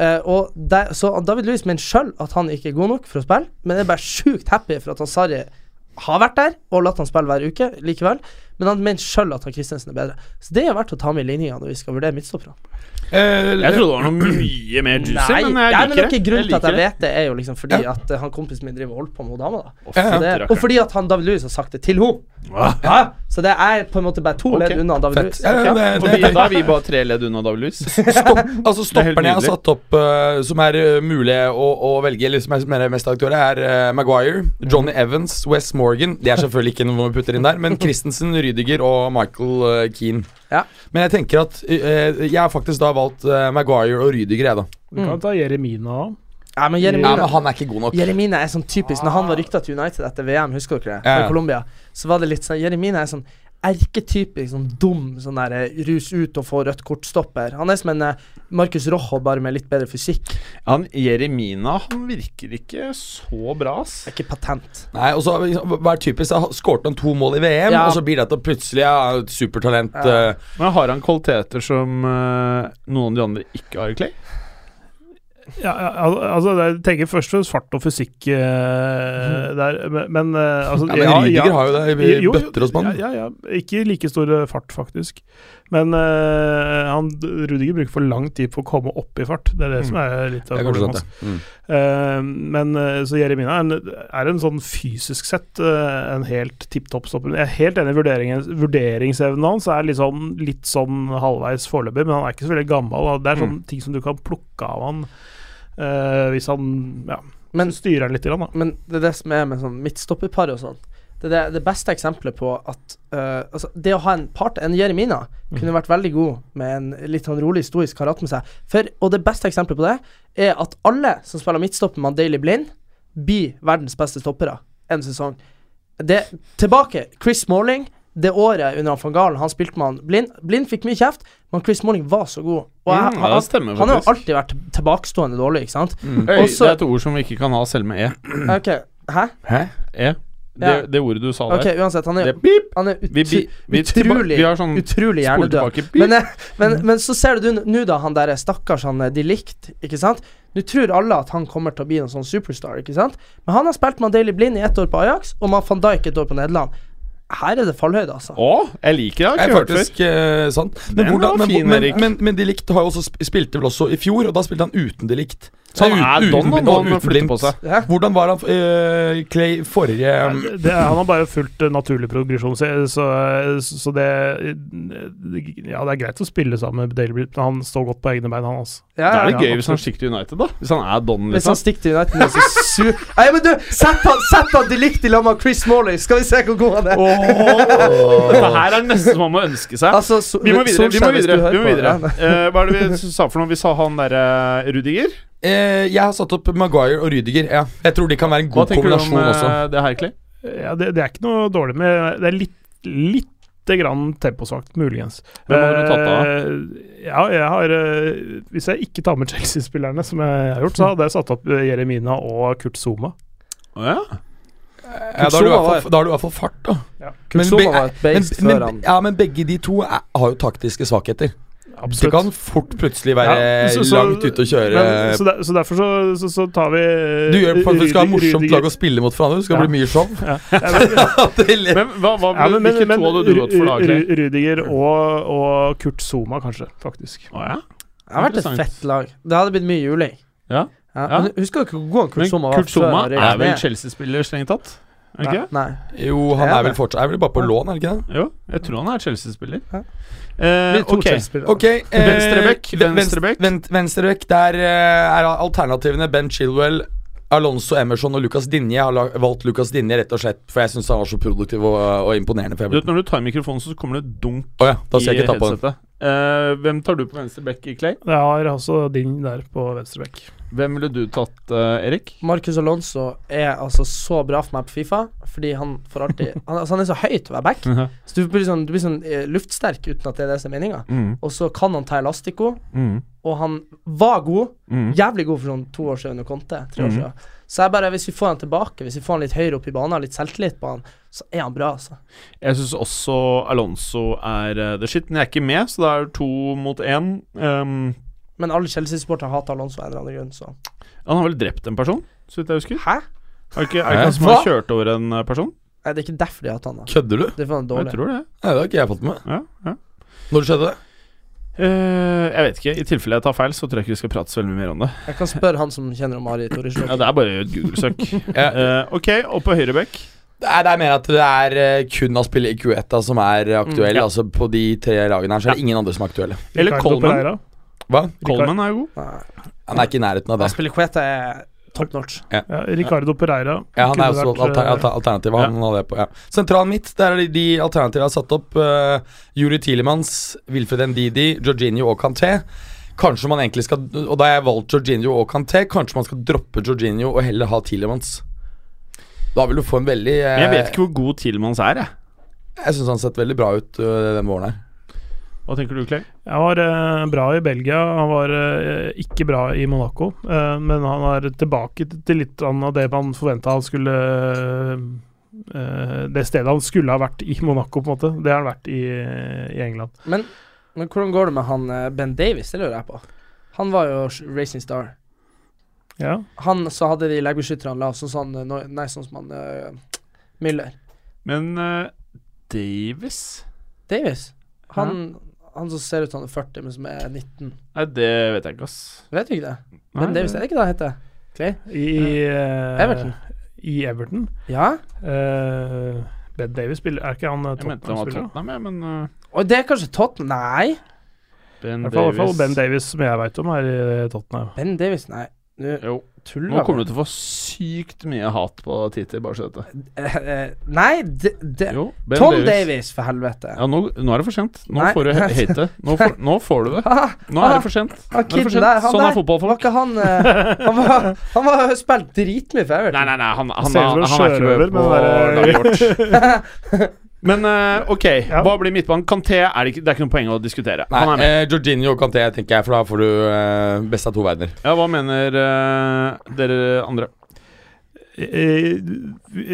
og der, så David Louis mener sjøl at han ikke er god nok for å spille, men er bare sjukt happy for at han Sarri har vært der og latt han spille hver uke likevel. Men han mener sjøl at han Christensen er bedre. Så det er verdt å ta med i linja når vi skal vurdere midtstopperne. Eh, Jeg trodde det var noe mye mer juicy, Nei, men jeg liker ja, men noe det. grunn til at jeg liker det. vet det, er jo liksom fordi at eh, han kompisen min driver og holder på med hun dama, da. Ja, ja. Så det, og fordi at han David Louis har sagt det til henne. Ah. Så det er på en måte bare to Ok, ledd unna David Louis. Ja, ja, det, det, Fordi da er vi bare tre ledd unna Davilus. Stopp, altså er helt Stopperne jeg har nydelig. satt opp eh, som er eh, mulig å, å velge, eller som er, som er mest aktuelle, er eh, Maguire, Johnny Evans, Wes Morgan Det er selvfølgelig ikke noe vi putter inn der, men Christensen, Rydiger og Michael eh, Keane. Ja. Men jeg tenker at eh, jeg har faktisk da valgt eh, Maguire og Rydiger, jeg, da. Du kan ta Jeremina òg. Ja, men Ja, Jeremina men han er ikke god nok. Jeremina er sånn typisk Når han var rykta til United etter VM, husker dere det? Ja, ja. Med Colombia. Så var det litt sånn Jeremina er sånn erketypisk sånn dum sånn der eh, rus ut og få rødt kort-stopper. Han er som en eh, Marcus Rojo, bare med litt bedre fysikk. Han Jeremina, han virker ikke så bra, ass. Det er ikke patent. Nei, og så liksom, Hva er typisk? da? Skårte han to mål i VM, Ja. og så blir det at han plutselig er et supertalent. Ja. eh, Men har han kvaliteter som eh, noen av de andre ikke har, Clay? Ja, ja, al- altså, jeg tenker først og fremst fart og fysikk eh, der, men, men eh, altså, ja, men Rydiger har jo det i Jo, jo, bøtter og spann. Ja, ja, ja. Ikke like stor eh, fart, faktisk. Men eh, han, Rudiger bruker for lang tid på å komme opp i fart. Det er det Mm. som er litt Det av er kanskje problemet. sant, det. hans. Mm. Eh, men eh, så Jeremina er en, er en sånn fysisk sett eh, en helt tipp topp stopper. Jeg er helt enig i vurderingen- vurderingsevnen hans. Er litt sånn, litt sånn halvveis foreløpig, men han er ikke så veldig gammel. Og det er sånne ting som du kan plukke av han eh, hvis han ja, Men, styrer han litt, grann, da. men det er det som er med sånn midtstopperpar og sånn. Det er det, det beste eksempelet på at eh, altså, det å ha en part, en Jeremina, Mm. kunne vært veldig god med en litt sånn rolig, stoisk karat med seg. For, og det beste eksempelet på det er at alle som spiller midtstopper med Daily Blind, blir verdens beste stoppere en sesong. Det, tilbake, Chris Smalling. Det året under han van Galen, han spilte med han Blind. Blind fikk mye kjeft, men Chris Smalling var så god. Og jeg, Mm, ja, det han, stemmer han har jo faktisk. alltid vært tilbakestående dårlig, ikke sant? Øy, Også- det er et ord som vi ikke kan ha selv med e. Ok, Hæ? Hæ? e. Det, Ja. det ordet du sa Ok, der. uansett. Han er, Det pip! han er Vi, utru, bi- vi, tilba- utrolig- vi har sånn utrolig spol hjernedød. tilbake. Pip! Men, eh, men, men så ser du nå, da, han derre stakkars han eh, de likt, ikke sant? Nå tror alle at han kommer til å bli en sånn superstar, ikke sant? Men han har spilt med Daily Blind i ett år på Ajax, og med van Dijk et år på Nederland. her er det fallhøyde, altså. Å, jeg liker det. Jeg har Jeg ikke hørt det før. faktisk eh, sant. Men, Den hvordan, var men, fin, men, Erik. men, men, De Licht har jo også sp- spilte vel også i fjor, og da spilte han uten De Licht. Så han Nei, er uten- don uten- når han uten flytter Blind. på seg. Ja. Hvordan var han eh, Clay forrige um, Nei, det, han har bare fulgt eh, naturlig progresjon, så, så, så det Ja, det er greit å spille sammen med Daily Blipp, men han står godt på egne bein, han altså. også. Ja, Da er ja. det gøy hvis han stikker til United, da. Hvis han er don, Hvis han liksom. stikker til United nå, så sur Nei, men du, sett han, sett han de likte i lag med Chris Morley, skal vi se hvor god han er. Dette her er nesten som han må ønske seg. Altså, so Vi må videre. vi må Solskjær, hvis du videre, hører vi må på, videre. ja. Eh, Hva er det vi s- sa for noe? Vi sa han derre Rudiger. Eh, Jeg har satt opp Maguire og Rydiger. Ja. Jeg tror de kan være en Hva god tenker du om kombinasjon også. eh, det her, Clay? Ja, det, det er ikke noe dårlig med Det er litt, lite grann temposvakt, muligens. Hvem hadde du tatt da? Eh, Ja, jeg har eh, Hvis jeg ikke tar med Chelsea-spillerne, som jeg har gjort, så hadde jeg satt opp eh, Jeremina og Kurt Zuma. Å ja. Ja, da, har du i Zuma hvert var- fall- da har du i hvert fall fart, da. Kurt Men Zuma be- var et Men, beist før men, han ja, men begge de to er, har jo taktiske svakheter. Det Absolutt. kan fort plutselig være Ja, så- så- langt ute å kjøre Men, så, der, så derfor så, så, så tar vi Du gjør det for at du skal ha Rudi- morsomt Rudiger. lag å spille mot hverandre. Det skal Ja. bli mye show. (laughs) Men hva, hva, Ja, men, men, hvilke men to hadde du gått for, da, Ru- Clay? Ru- Rudiger og, og Kurt Zuma, kanskje, faktisk. Å ja. Det har vært et Interessant. fett lag. Det hadde blitt mye juling. Ja. Ja. men Altså, Husker dere hvor god han Kurt Men Zuma var? Kurt Zuma før er vel Real- Chelsea-spiller, strengt tatt? Er han ikke? Nei. Jo, han Ja, er vel det. fortsatt Er vel bare på lån, er det ikke det? Jo, jeg tror han er Chelsea-spiller. Ja. Eh, Blir to ok. Chelsea-spillere. Ok, eh, Venstrebekk, ven- venstrebekk. ven- Venstrebekk. Der eh, er alternativene Ben Chilwell, Alonso Emerson og Lucas Dinje. Jeg har la- valgt Lucas Dinje rett og slett for jeg syns han var så produktiv og, og imponerende. For Du jeg vet, Når du tar mikrofonen, så kommer det dunk Å ja, da skal i jeg ikke ta på den. headsetet. Eh, hvem tar du på venstre bekk i Clay? Jeg har også din der på venstre bekk. Hvem ville du tatt, eh, Erik? (laughs) Marcus Alonso er altså så bra for meg på Fifa, fordi han får (laughs) alltid han, altså han er så høy til å Mm. være back, Mm, så du blir sånn, du blir sånn eh, luftsterk uten at det er det som er meninga. Mm, Og så kan han ta elastico, mm, og han var god, mm. jævlig god for sånn to år siden under Conte, tre år Mhm. siden. Så jeg bare, hvis vi får han tilbake, hvis vi får han litt høyere opp i banen, litt selvtillit på han, så er han bra, altså. Jeg syns også Alonso er eh, the shit, men jeg er ikke med, så det er to mot én. Ehm, Men alle Chelsea-sportere hater Alonso av en eller annen grunn, så han har vel drept en person, så vidt jeg husker? Hæ? Er det ikke, er det ikke han som Hva? har kjørt over en eh, person? Nei, det er ikke derfor de hater han, da. Kødder du? Det er for han er Jeg dårlig. tror det. Nei, det har ikke jeg fått med. Ja, ja. Når skjedde det? Eh, jeg vet ikke. I tilfelle jeg tar feil, så tror jeg ikke vi skal prate så veldig mye mer om det. Jeg kan spørre han som kjenner om Ari Torishov. Ja, Det er bare et Google-søk. Ja. Eh, ok, og på høyre bekk Nei, det er mer at det er eh, kun Aspille Cueta som er aktuell. ja. Altså På de tre lagene her Så er det ingen andre som er aktuelle. Eller Ricardo Coleman. Pereira. Hva? Coleman er jo god. Han er ikke i nærheten av det. Aspilicueta eh, er top notch. Ja, Ricardo Pereira. Ja, han Kunne er også vært, alter, eh, alter, alternativet. Han hadde jeg på, ja. Sentralen mitt, der er de, de alternativene jeg har satt opp. Uh, Juri Tilemans, Wilfred Ndidi, Jorginho og Kanté. Kanskje man egentlig skal Og da har jeg valgt Jorginho og Kanté, kanskje man skal droppe Jorginho og heller ha Tilemans. Da vil du få en veldig eh, Men jeg vet ikke hvor god Tilmans er, jeg. Jeg syns han har sett veldig bra ut uh, denne våren her. Hva tenker du, Clay? Han var eh, bra i Belgia, han var eh, ikke bra i Monaco. eh, men han er tilbake til- til litt grann av det man forventa han skulle eh, Det stedet han skulle ha vært i Monaco, på en måte. Det har han vært i, i England. Men, men hvordan går det med han eh, Ben Davies? Det lurer jeg på. Han var jo s- Racing Star. Ja. Han så hadde de leggbeskytterne lav, sånn som han, eh, Nor- Nei, sånn som han eh, Müller. Men eh, Davis Davies? Han, han som ser ut som han er 40, men som er 19. Nei, det vet jeg ikke, ass. Vet du ikke det? Nei, Ben Davies, er det ikke det han heter? Clay? I eh, Everton. I Everton. Ja? Eh, ben Davies spiller Er ikke han eh, Jeg mente han var Tottenham-spiller? da? Tottenham, jeg, men eh, Og det er kanskje Tottenham? Nei. Ben I hvert fall- i hvert fall Davis Ben Davies, som jeg veit om, er i eh, Tottenham. Ben Davies, nei. Nå Jo. tuller Nå jeg kommer med. du til å få sykt mye hat på Titi, bare så du vet det. Eh, eh, Nei, det, det. Jo, Ben Tom Davies. for helvete. Ja, nå, nå er det for sent. Nå Nei. får du (laughs) he- hate. Nå får, nå får du det. Ah, Nå er det for sent. han Nå er det kiden for der, sent. han Sånn der er Var fotballfolk. ikke han eh, Han var, han var spilt dritmye for Everton. (laughs) Nei, nei, nei, han, han, Ser ut han, som han er ikke sjørøver, med på men det er- laget vårt. (laughs) Men eh, ok, Ja. hva blir midtbanen? Kanté er det, ikke, det er ikke noe poeng å diskutere. Nei, Han er med. eh, Jorginho og Kanté, tenker jeg, for da får du eh, best av to verdener. Ja, hva mener eh, dere andre? Eh,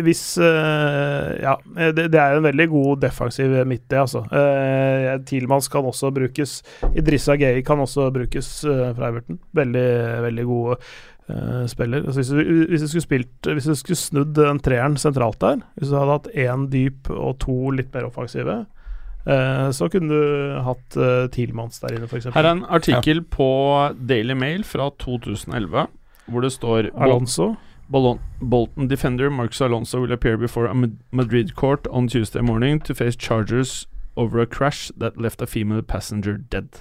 Hvis eh, Ja, eh, det, det er en veldig god defensiv midt, det, altså. Eh, Tilmans kan også brukes. Idrissa Gay kan også brukes eh, fra Everton. Veldig, veldig god eh, spiller. Altså, hvis, du, hvis, du skulle spilt, hvis du skulle snudd den treeren sentralt der, hvis du hadde hatt én dyp og to litt mer offensive, eh, så kunne du hatt uh, Tilmans der inne, f.eks. Her er en artikkel på Daily Mail fra 2011, hvor det står Alonso. Bolon Bolton defender Marcus Alonso will appear before a Mad- Madrid court on Tuesday morning to face charges over a crash that left a female passenger dead.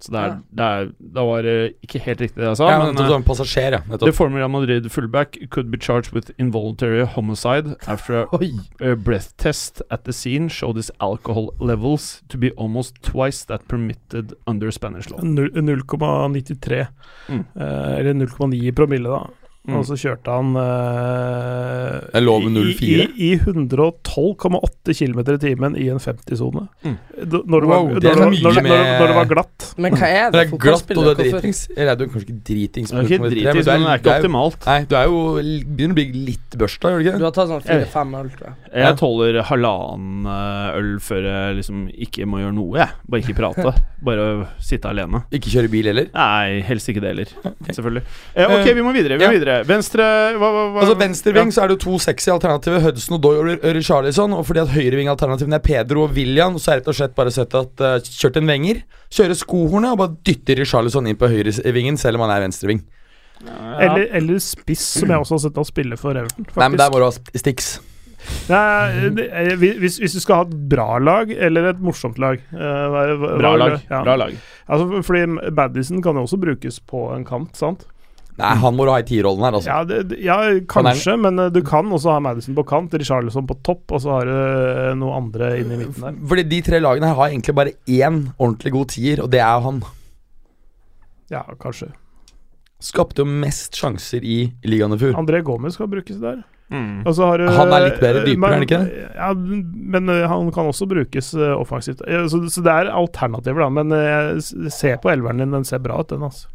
Så det er, det er Da var det ikke helt riktig det jeg sa, Ja, men nettopp eh, som sånn passasjer, ja. the Nettopp. former Real Madrid fullback could be charged with involuntary homicide after a, Oi. a breath test at the scene showed his alcohol levels to be almost twice that permitted under Spanish law. Null- 0,93. Mm. eh, eller 0,9 i promille, da. Mm. Og så kjørte han eh, Er loven i- 04? I, i 112,8 km i timen i en 50-sone. Mm. D- Når, det var- Wow, når, det det er var- mye når, det- når, det- med- når det var glatt. Men hva er Det det? er glatt, og Fotballspiller det er hvorfor- dritings. Eller er du kanskje ikke dritings? Det er ikke på nummer tre, dritings, men det er du ikke jo- optimalt. Nei, du er jo l- begynner å bli litt børsta, gjør du ikke Du det? har tatt sånn Jeg vet. fire-fem øl, tror jeg. Ja. Jeg tåler halvannen eh, øl før jeg liksom ikke må gjøre noe, jeg. Bare ikke (laughs) prate. Bare sitte alene. Ikke kjøre bil heller? Nei, helst ikke det (laughs) heller. Selvfølgelig. Eh, ok, vi må videre. Vi ja. må videre. Venstre hva, hva, hva? Altså Venstreving så er det jo to sexy alternativer. Hudson og Doy og Richarlison. Og fordi at høyreving-alternativene er Pedro og William, så er det rett og slett bare sett at eh, kjørt en venger, kjøre skohornet og bare dytte Richarlison inn på høyrevingen, selv om han er venstreving. Ja. Eller, eller spiss, som jeg også har sett han spille for Everton. Faktisk. Nei, men der må du ha st- sticks. Nei, det- eh, hvis, hvis du skal ha et bra lag, eller et morsomt lag eh, hva- hva- Bra hva- lag. Ja. Bra lag. Altså, fordi Madison kan jo også brukes på en kant, sant? Nei, han må du ha i tierrollen her, altså. Ja, det, det- ja kanskje, men eh, du kan også ha Madison på kant, Richarlison på topp, og så har du eh, noe andre inne i midten der. Fordi de tre lagene her har egentlig bare én ordentlig god tier, og det er han. Ja, kanskje. Skapte jo mest sjanser i ligaen i fjor. André Gomez skal brukes der. Mm. Og så har du Han er litt bedre dypere, men- er han ikke det? Ja, men eh, han kan også brukes eh, offensivt. Eh, Så, så det er alternativer, da. Men eh, s- se på elveren din, den ser bra ut, den, altså.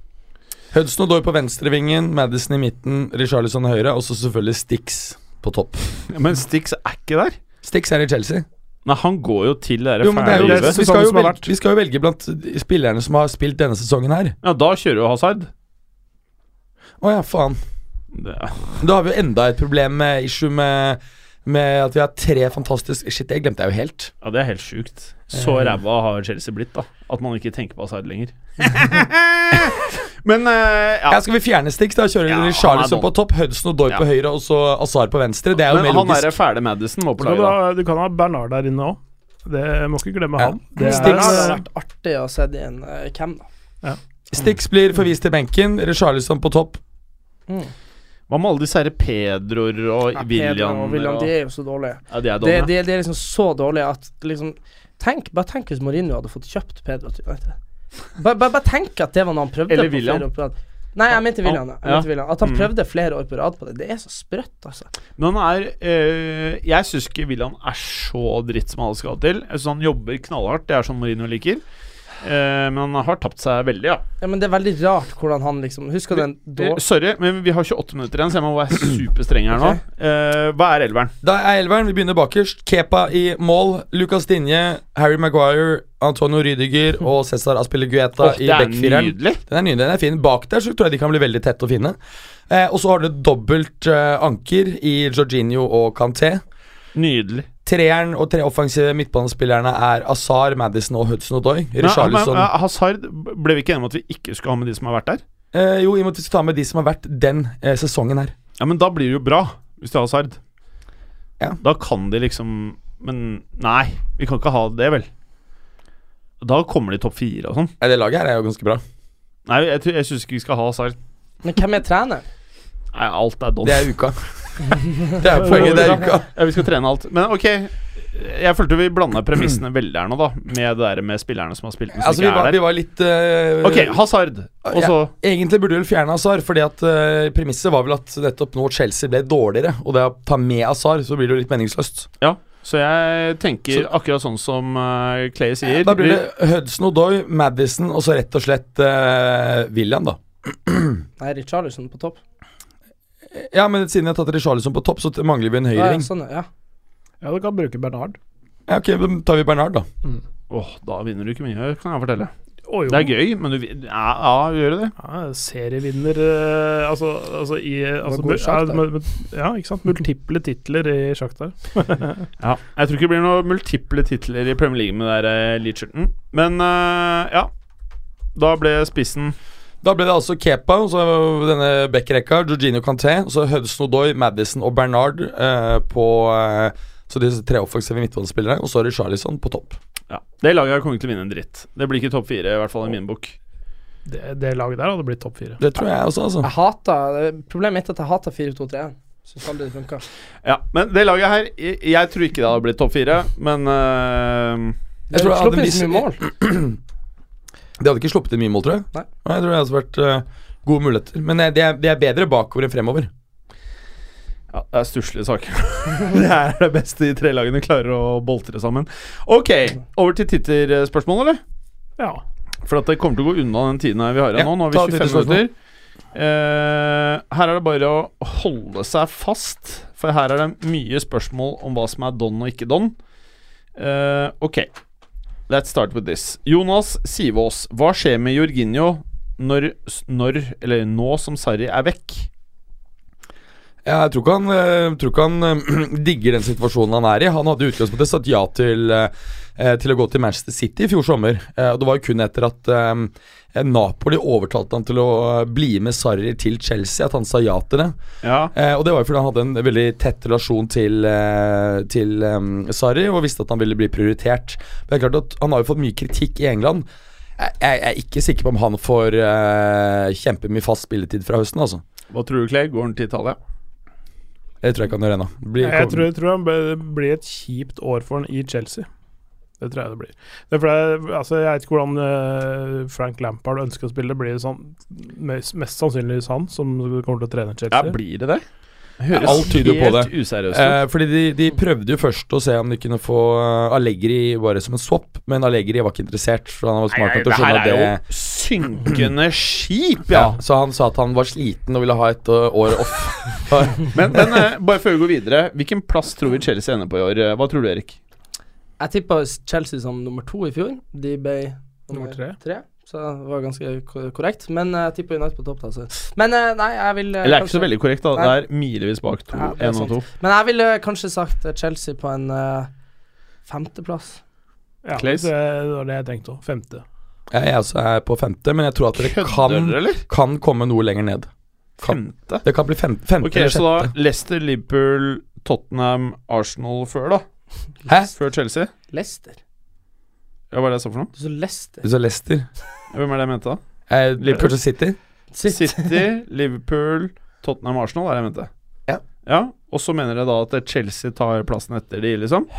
Hudson og Doy på venstrevingen, Madison i midten, Richarlison høyre, og så selvfølgelig Stix på topp. Men Stix er ikke der. Stix er i Chelsea. Nei, han går jo til det Jo, men det er jo, ferdig. ferdige livet. vi, skal jo Sesongen som har velge, vært. vi skal jo velge blant de spillerne som har spilt denne sesongen her. Ja, da kjører jo Hazard. Å ja, faen. Det, Da har vi jo enda et problem med issue med, med at vi har tre fantastiske Shit, det glemte jeg jo helt. ja, det er helt sjukt. Så Eh. ræva har Chelsea blitt, da. At man ikke tenker på Hazard (laughs) lenger. Men eh, ja. Ja, Skal vi fjerne Stix? da? Kjøre Ja, han er Charlison dårlig. på topp, Hudson og Doy Ja. på høyre og så Azar på venstre. Det er jo Men mer han derre logisk. fæle Madison må på Så laget, kan du, da. ha, du kan ha Bernard der inne òg. Det må ikke glemme Ja. han. Det Det er, hadde Sticks. ja, vært artig å se det i en eh, cam, da. Stix blir forvist til benken, Charlison på topp. Mm. Hva med alle disse herre Pedroer og Ja, Pedro William? og William, de er jo så dårlige. Ja, de er Det, dumme. det, det er liksom så dårlig at liksom Tenk, Bare tenk hvis Mourinho hadde fått kjøpt Pedro til United. Bare, bare, bare tenk at det var noe han prøvde Eller på William. flere år på rad. Nei, jeg mente William. ja. Jeg Ja. mente William. At han Mm. prøvde flere år på rad på det. Det er så sprøtt, altså. Men han er eh, Jeg syns ikke William er så dritt som alle skal til. Jeg synes han jobber knallhardt, det er sånn Marino liker. Eh, men han har tapt seg veldig, ja. Ja, Men det er veldig rart hvordan han liksom Husker du den Eh, dårlige sorry, men vi har 28 minutter igjen, så jeg må (clears throat) være superstreng her nå. Ok. Eh, hva er elveren? Da er elveren. Vi begynner bakerst. Kepa i mål. Lucas Dinje, Harry Maguire, Antonio (laughs) Rydiger og Cæsar Aspillegueta Åh, i det er backfireren. nydelig. Den er nydelig, den er fin. Bak der så tror jeg de kan bli veldig tette å finne. Eh, og så har du dobbelt eh, anker i Jorginho og Canté. Nydelig. Treeren og tre offensive midtbanespillerne er Azar, Madison og Hudson Odoi. Men, men, Richarlison eh, Hazard ble vi ikke enige om at vi ikke skulle ha med de som har vært der? eh, Jo, i og med at vi skal ta med de som har vært den eh, sesongen her. Ja, men da blir det jo bra, hvis de har Hazard. Ja. Da kan de liksom Men nei, vi kan ikke ha det, vel. Da kommer de topp fire og sånn. Nei, Eh, det laget her er jo ganske bra. Nei, jeg, tror- jeg syns ikke vi skal ha Hazard. Men hvem er trener? Nei, alt er don. Det er (laughs) uka. det er poenget, det er uka. Ja, vi skal trene alt. Men ok, jeg følte vi blanda premissene veldig her nå, da. Med det der med spillerne som har spilt, men som Altså, vi ikke var, er vi der. var litt eh, Ok, Hazard. Og så Egentlig burde du vel fjerne Azar, fordi at eh, premisset var vel at nettopp nå Chelsea ble dårligere. Og det å ta med Azar, så blir det jo litt meningsløst. Ja. Så jeg tenker akkurat sånn som eh, Clay sier. Da blir det Hudson Odoi, Madison og så rett og slett eh, William, da. Nei, Richarlison på topp. Ja, men siden jeg har tatt Richarlison på topp, så mangler vi en Ja, høyreving. sånn, ja. du kan bruke Bernard. Ja, ok, da tar vi Bernard, da. Åh, da vinner du ikke mye, kan jeg fortelle. Å, jo. Det er gøy, men du vil- Ja, ja gjør det det? Ja, serievinner eh, Altså, altså i eh, altså, god mul- sjakk, ja, da. mul- mul- ja, ikke sant. Multiple titler i sjakk der. Ja. Jeg tror ikke det blir noen multiple titler i Premier League med det der eh, Leacherton. Men eh, ja. Da ble spissen Da ble det altså Kepa, og så denne backrekka, Jorginho Canté, og så Hudson Odoi, Madison og Bernard eh, på eh, Så disse tre offensive midtbanespillere, og så er det Charlison på topp. ja. Det laget her kommer ikke til å vinne en dritt. Det blir ikke topp fire, i hvert fall i min bok. Det, det laget der hadde blitt topp fire. Det tror jeg også, altså. Jeg hater Problemet mitt er at jeg hater 4-2-3-1. Syns aldri det funka. Ja, Men det laget her Jeg, jeg tror ikke det hadde blitt topp fire, men eh, Jeg tror jeg hadde sluppet inn så vist- mye mål. De hadde ikke sluppet inn mye mål, tror jeg. Nei. jeg tror det hadde vært eh, gode muligheter. Men eh, de er, de er bedre bakover enn fremover. Ja, det er stusslige saker. (laughs) det er det beste de tre lagene klarer å boltre sammen. Ok, over til titterspørsmål, eller? Ja. For at det kommer til å gå unna den tiden her vi har her Ja, nå. Nå har ta vi 25 titterspørsmål. minutter. Eh, her er det bare å holde seg fast, for her er det mye spørsmål om hva som er don og ikke don. Eh, ok, let's start with this. Jonas Sivås, hva skjer med Jorginho når, når eller nå som Sarri er vekk? Ja, jeg tror ikke han, eh, tror ikke han eh, (clears throat) digger den situasjonen han er i. Han hadde i utgangspunktet sagt ja til, eh, eh, til å gå til Manchester City i fjor sommer. Eh, og Det var jo kun etter at eh, Napoli overtalte han til å eh, bli med Sarri til Chelsea, at han sa ja til det. Ja, Eh, og Det var jo fordi han hadde en veldig tett relasjon til, eh, til eh, Sarri og visste at han ville bli prioritert. Men det er klart at Han har jo fått mye kritikk i England. Jeg, jeg er ikke sikker på om han får eh, kjempemye fast spilletid fra høsten, altså. Hva tror du, Clay? Går han til Italia? Det tror jeg ikke han gjør ennå. Blir- Jeg tror, jeg tror han ble- det blir et kjipt år for han i Chelsea. Det tror jeg det blir. Det er fordi, altså, jeg vet ikke hvordan eh, Frank Lampard ønsker å spille. Det blir sånn, mest, mest sannsynligvis han som kommer til å trene Ja, Chelsea. blir det det? Ja, alt tyder jo på det. helt useriøst ut. Eh, fordi de, de prøvde jo først å se om de kunne få eh, Allegri bare som en swap, men Allegri var ikke interessert. For han var smart nok til å skjønne at det synkende skip, ja, (clears throat) ja. Så han sa at han var sliten og ville ha et eh, år off. Men, men eh, bare før vi går videre, hvilken plass tror vi Chelsea ender på i år? Eh, Hva tror du, Erik? Jeg tippa Chelsea som nummer to i fjor. De ble Nummer tre. Så det var ganske ko- korrekt. Men eh, jeg tippa United på topp, da. Så. Men eh, nei, jeg vil eh, Eller er ikke kanskje- så veldig korrekt, da. Det Nei. er milevis bak to, Ja, det er én og sant. to. Men jeg ville kanskje sagt eh, Chelsea på en eh, femteplass. Ja, det, Clays? det var det jeg tenkte òg. Femte. Jeg, jeg også er på femte, men jeg tror at dere kan, dere, eller? kan komme noe lenger ned. Kan, Femte? det kan bli fem, femte Ok, eller så da sjette. Leicester, Liverpool, Tottenham, Arsenal før, da? Hæ? Før Chelsea? Leicester. Ja, hva er det jeg sa for noe? Du så Leicester. Du sa Leicester. Hvem er det jeg mente, da? Eh, Liverpool. Liverpool City. City. City, Liverpool, Tottenham, Arsenal er det jeg mente. Ja. ja. Og så mener dere da at Chelsea tar plassen etter de, liksom?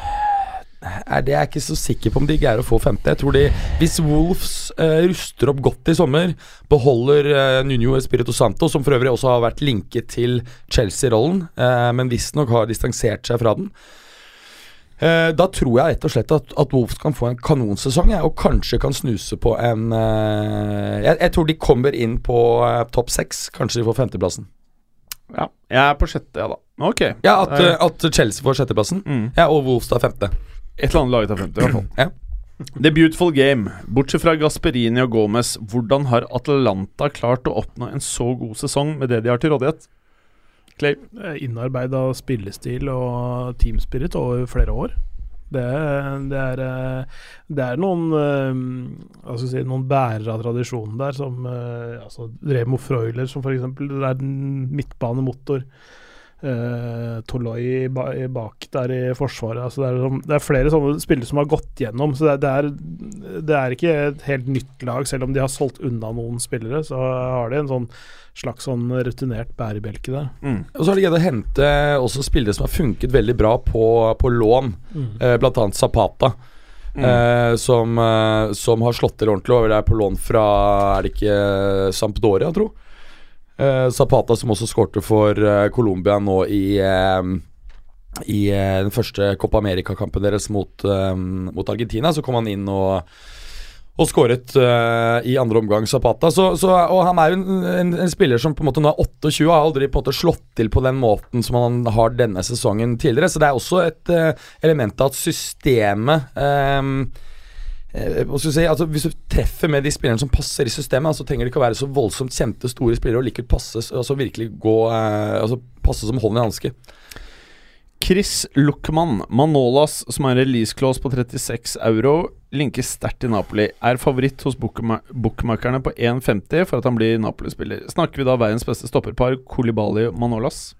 er det jeg er ikke så sikker på om de greier å få femte. Jeg tror de, Hvis Wolves eh, ruster opp godt i sommer, beholder eh, Nuno Espirito Santo, som for øvrig også har vært linket til Chelsea-rollen, eh, men visstnok har distansert seg fra den eh, Da tror jeg rett og slett at, at Wolves kan få en kanonsesong, jeg, og kanskje kan snuse på en eh, jeg, jeg tror de kommer inn på eh, topp seks, kanskje de får femteplassen. Ja. Jeg er på sjette, ja da. Men Ok. Ja, at, Der. eh, at Chelsea får sjetteplassen, Mm. ja, og Wolves tar femte. Et eller annet laget av 50, i hvert fall. Ja. The Beautiful Game. Bortsett fra Gasperini og Gomez, hvordan har Atlanta klart å oppnå en så god sesong med det de har til rådighet? Clay. Eh, innarbeida spillestil og teamspirit over flere år. Det, det, er, eh, det er noen eh, hva skal jeg si, noen bærere av tradisjonen der, som eh, altså Remo Freuler, som f.eks. er en midtbanemotor. Uh, Toloi ba i bak der i forsvaret. Altså det, er, sånn- det er flere sånne spillere som har gått gjennom. Så det, er- det, er, det er ikke et helt nytt lag, selv om de har solgt unna noen spillere. Så har de en sånn slags sånn rutinert bærebjelke der. Og så har de greid å hente også spillere som har funket veldig bra på, på lån, eh, blant annet Zapata. Eh, som, eh, som har slått til ordentlig over der på lån fra Er det ikke Sampdoria, tro? Eh, Zapata som også skårte for eh, Colombia nå i eh, I eh, den første Copa America-kampen deres mot, eh, mot Argentina. Så kom han inn og og skåret eh, i andre omgang Zapata. Så, så, og han er jo en, en, en spiller som på en måte nå er 28 og har aldri på en måte slått til på den måten som han har denne sesongen tidligere. Så det er også et eh, element av at systemet eh, eh, hva skal vi si, altså Hvis du treffer med de spillerne som passer i systemet, så altså, trenger det ikke å være så voldsomt kjente, store spillere og likevel passe, s- altså, virkelig gå, eh, altså, passe som hånd i hanske. Chris Luckman, Manolas, som er release-clause på 36 euro, linkes sterkt til Napoli. Er favoritt hos bookma- bookmakerne på 1,50 for at han blir Napoli-spiller. Snakker vi da verdens beste stopperpar, Kolibali og Manolas?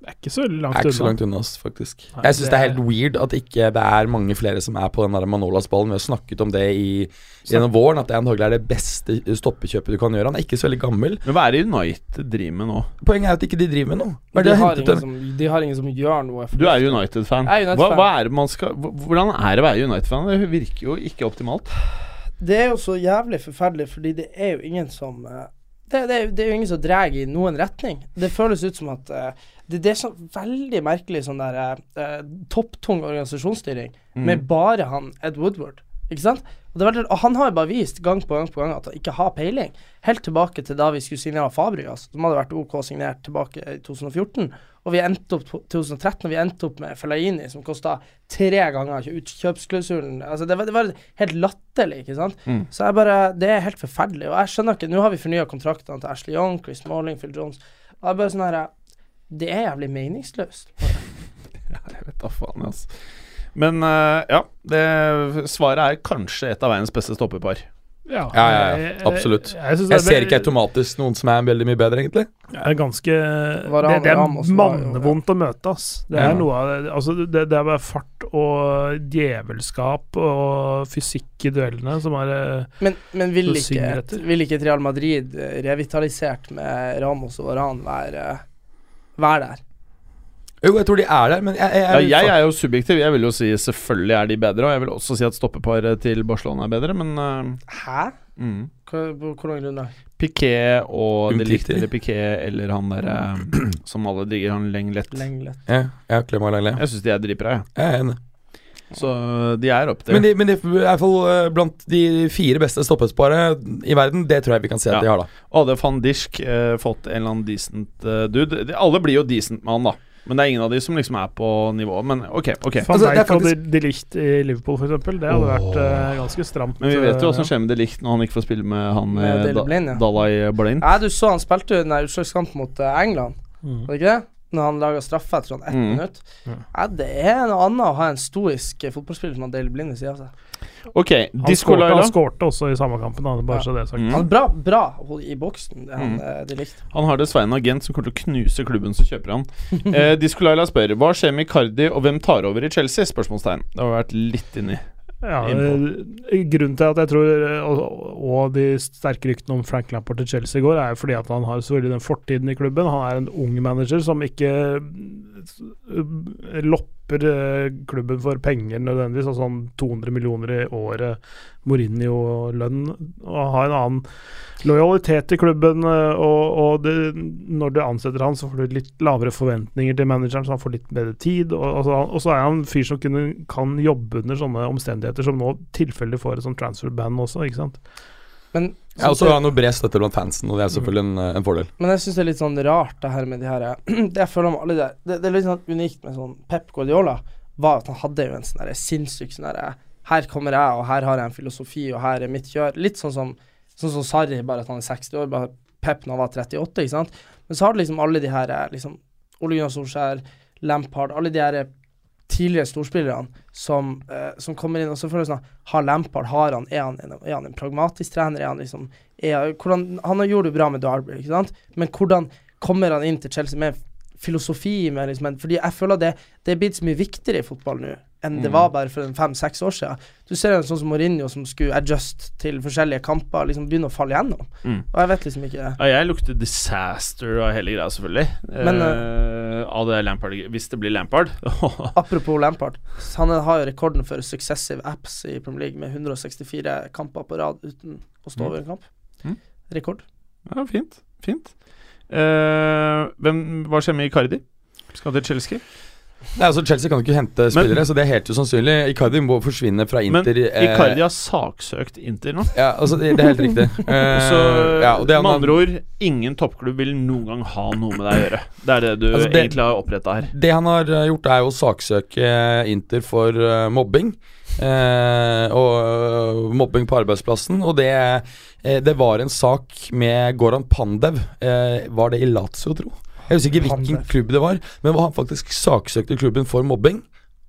Det er ikke så Det langt er ikke så unna. langt unna oss, faktisk. Nei, Jeg syns det det er er- helt weird at ikke det er mange flere som er på den der Manolas-ballen. Vi har snakket om det i, gjennom våren, at det antagelig er det beste stoppekjøpet du kan gjøre. Han er ikke så veldig gammel. Men hva er det United driver med nå? Poenget er at ikke de driver med noe. Hva er De det de har, hentet ingen dem? som, de har ingen som gjør noe. Du er United-fan. Jeg hva, er United-fan. hva er det man skal hv- Hvordan er det å være United-fan? Det virker jo ikke optimalt. Det er jo så jævlig forferdelig, fordi det er jo ingen som eh, Det, det, er jo- det er jo ingen som drar i noen retning. Det føles ut som at eh, det, det er så veldig merkelig sånn der eh, eh, topptung organisasjonsstyring med bare han Ed Woodward. Ikke sant? Og, det er veldig, og han har jo bare vist gang på gang på gang at han ikke har peiling. Helt tilbake til da vi skulle signere Fabregas, som hadde vært OK signert tilbake i 2014. Og vi endte opp på 2013, og vi endte opp med Fellaini, som kosta tre ganger kjø- utkjøpsklausulen. Altså, det, var, det var helt latterlig, ikke sant. Så jeg bare Det er helt forferdelig. Og jeg skjønner ikke Nå har vi fornya kontraktene til Ashley Young, Chris Malling, Phil Jones. Og jeg bare sånn her Det er jævlig meningsløst. Jeg vet da faen, altså. Men eh, ja, det, svaret er kanskje et av verdens beste stopperpar. Ja, ja, ja, absolutt. Jeg, synes det Jeg er ser ve- ikke automatisk noen som er veldig mye bedre, egentlig. Det er ganske Var Det, det det er Ramos var jo- mannevondt å møte, ass. Det er Ja. noe av det Altså, det, det er bare fart og djevelskap og fysikk i duellene som er eh, Men, men vil, Så ikke synger et, etter. vil ikke et Real Madrid eh, revitalisert med Ramos og Varan være være der? Jo, jeg tror de er der, men jeg, jeg, Ja, jeg, jeg er jo subjektiv. Jeg vil jo si selvfølgelig er de bedre, og jeg vil også si at stoppeparet til Barcelona er bedre, men Hæ? eh, mm. Hva, på hvilken grunnlag? Piqué og de Umtiti. likte eller Piqué eller han derre som alle digger, han Lenglet. Lenglet. ja, ja, Clément Langlais. Jeg syns de er dritbra, jeg. Jeg er enig. Så eh, de er opp Men til. de, men de er i hvert fall eh, blant de fire beste stoppesparet i verden. Det tror jeg vi kan se at Ja. de har, da. Og hadde van Dijk eh, fått en eller annen decent eh, dude de, Alle blir jo decent med han, da. Men det er ingen av de som liksom er på nivået. Men ok, ok. Van Altså, det er Dijk faktisk- og De Licht i Liverpool, for eksempel. Det hadde vært eh, ganske stramt. Men vi vet jo hva som eh, skjer med de likt når han ikke får spille med han Med eh, Daley da, Blind, ja. Dalai Blind. Nei, du så han spilte jo den der utslagskampen mot eh, England, Mm. var det ikke det? Når han laga straffe etter sånn ett Mm. minutt. Ja. Nei, det er noe annet å ha en stoisk eh, fotballspiller som har Dale Blind ved sida av Mm. seg. Ok, Han Disco skårte, Laila. han skårte også i samme kampen, da, bare Ja. så det er sagt. Mm. Han er bra, bra hold- i boksen, det han Mm. eh, de likte. Han har dessverre en agent som kommer til å knuse klubben som kjøper (laughs) han. Eh, Disco Laila spør hva skjer med Icardi, og hvem tar over i Chelsea? Spørsmålstegn. Det har vi vært litt inni. Ja, Innpå. eh, grunnen til at jeg tror eh, og, og de sterke ryktene om Frank Lampard til Chelsea i går, er jo fordi at han har selvfølgelig den fortiden i klubben. Han er en ung manager som ikke eh, lopper eh, klubben for penger nødvendigvis. Altså sånn 200 millioner i året, Mourinho-lønn. Og har en annen lojalitet til klubben. eh, Og, og det, når du ansetter han, så får du litt lavere forventninger til manageren, så han får litt bedre tid. Og, og, så, og så er han en fyr som kunne, kan jobbe under sånne omstendigheter, som nå tilfeldig får et sånt transfer-band også, ikke sant. Men, Jeg har også har noe bred støtte blant fansen, og det er selvfølgelig en, eh, en fordel. men jeg syns det er litt sånn rart, det her med de her eh, (clears throat) det Jeg føler om alle der det, det er litt sånn unikt med sånn Pep Guardiola, var at han hadde jo en sånn derre sinnssyk sånn derre Her kommer jeg, og her har jeg en filosofi, og her er mitt kjør. Litt sånn som Sånn som Sarri, bare at han er 60 år, bare Pep når han var 38, ikke sant. Men så har du liksom alle de her eh, liksom, Ole Gunnar Solskjær, Lampard, alle de her eh, tidligere storspillerne som, eh, som kommer inn, og så føler jeg sånn Har Lampard, har han, er han, en, er han en pragmatisk trener, er han liksom er, hvordan, Han gjorde det bra med Derby, ikke sant, men hvordan kommer han inn til Chelsea med en filosofi med liksom en, Fordi jeg føler det, det er blitt så mye viktigere i fotball nå enn det var bare for fem-seks år siden. Du ser en sånn som Mourinho som skulle adjust til forskjellige kamper, liksom begynne å falle gjennom. Mm. Og jeg vet liksom ikke Ja, jeg lukter disaster av hele greia, selvfølgelig. Men, eh, av det Lampard Hvis det blir Lampard. (laughs) Apropos Lampard, han har jo rekorden for successive apps i Premier League med 164 kamper på rad uten å stå Mm. over en kamp. Mm. Rekord. ja, fint. Fint. Eh, hvem, hva skjer med Icardi? Skal til Chelsea? Nei, altså Chelsea kan jo ikke hente spillere, så det er helt usannsynlig. Icardi må forsvinne fra Men Inter. eh, Icardi har saksøkt Inter nå. Ja, altså det, det er helt riktig. Eh, (laughs) Så ja, og det er med han- andre ord, ingen toppklubb vil noen gang ha noe med deg å gjøre. Det er det du Altså, det- egentlig har oppretta her. Det han har eh, gjort, er jo å saksøke eh, Inter for eh, mobbing. Eh, og eh, mobbing på arbeidsplassen. Og det, eh, det var en sak med Goran Pandev. Eh, var det i Lazio, tro? Jeg husker ikke hvilken Pandev. klubb det var, men hvor han faktisk saksøkte klubben for mobbing.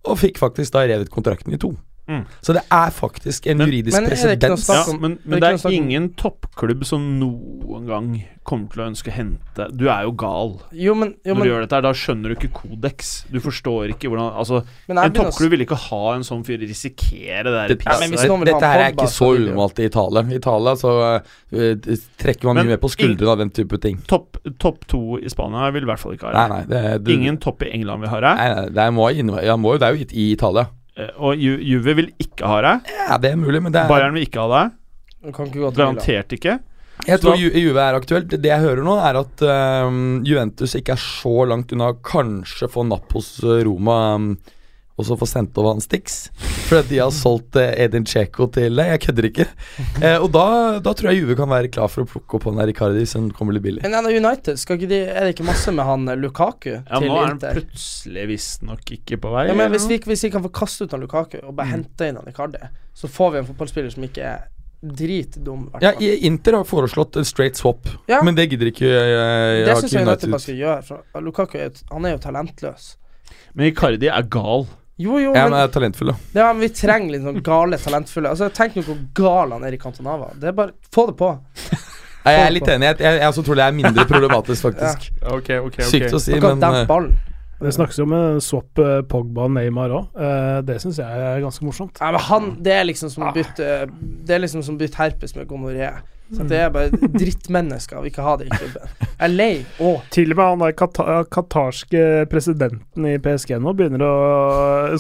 Og fikk faktisk da revet kontrakten i to. Mm. Så det er faktisk en Men- juridisk Men er det ikke noe presedens. snakk Ja, Snakk om- men, det er men det ikke noe er snakk om- ingen toppklubb som noen gang kommer til å ønske å hente Du er jo gal Jo, men, jo, når du men, gjør dette. her Da skjønner du ikke kodeks. Du forstår ikke hvordan Altså, men jeg en begynner å toppklubb ville ikke ha en sånn fyr risikere det der Det- Ja, men hvis pisset der. noen vil ha Dette her er Pogba, ikke så så vil det jo- unormalt i Italia. I Italia så eh, eh, trekker man Men mye mer på skuldrene av den type ting. Topp topp to i Spania vil i hvert fall ikke Nei, ha det. nei, det, du, Ingen topp i England vil ha det. Nei, nei, det er, må, jo innv- ja, må jo, det er jo i, i Italia. Eh, Og Ju Juve vil ikke ha deg. Ja, det er mulig, men det er Bayern vil ikke ha deg. Du kan ikke gå til Milan. Garantert ikke. Jeg Så tror da- Ju Juve er aktuelt. Det jeg hører nå, er at øhm, Juventus ikke er så langt unna å kanskje få napp hos øh, Roma øhm, og så få sendt over han Stix. Fordi at de har solgt øh, Edin Dzeko til Nei, jeg kødder ikke. Eh, og da, da tror jeg Juve kan være klar for å plukke opp han der Icardi, som kommer litt billig. Men er det United, skal ikke de, er det ikke masse med han eh, Lukaku Ja, til nå er han Inter? plutselig visstnok ikke på vei. Ja, men eller hvis noe. vi, ikke- hvis vi kan få kaste ut han Lukaku og Mm. bare hente inn han Icardi, så får vi en fotballspiller som ikke er dritdum. i hvert Ja, fall. i- Inter har foreslått en straight swap, Ja. men det gidder ikke øh, det har syns ikke jeg United. United bare skal gjøre. For Lukaku er jo, t- han er jo talentløs. Men Icardi er gal. Jo, jo, Ja, men men, er talentfull, da. ja, men vi trenger litt sånn gale, talentfulle Altså, Tenk nå hvor gal han er i Cantonava. Det er bare Få det på. Nei, Jeg er litt enig. Jeg, jeg, jeg også tror det er mindre (laughs) problematisk, faktisk. Ok, ok, Sykt å si, Han men kan øh, dempe ballen. Det snakkes jo om eh, swap eh, Pogba og Neymar òg. Det syns jeg er ganske morsomt. Ja, men han, det er liksom som å bytte Det er liksom som å bytte herpes med gonoré. Så Det er bare drittmennesker. Vi ikke ha det i klubben. Jeg er lei. Å, Til og med han der kata katarske presidenten i PSG nå begynner å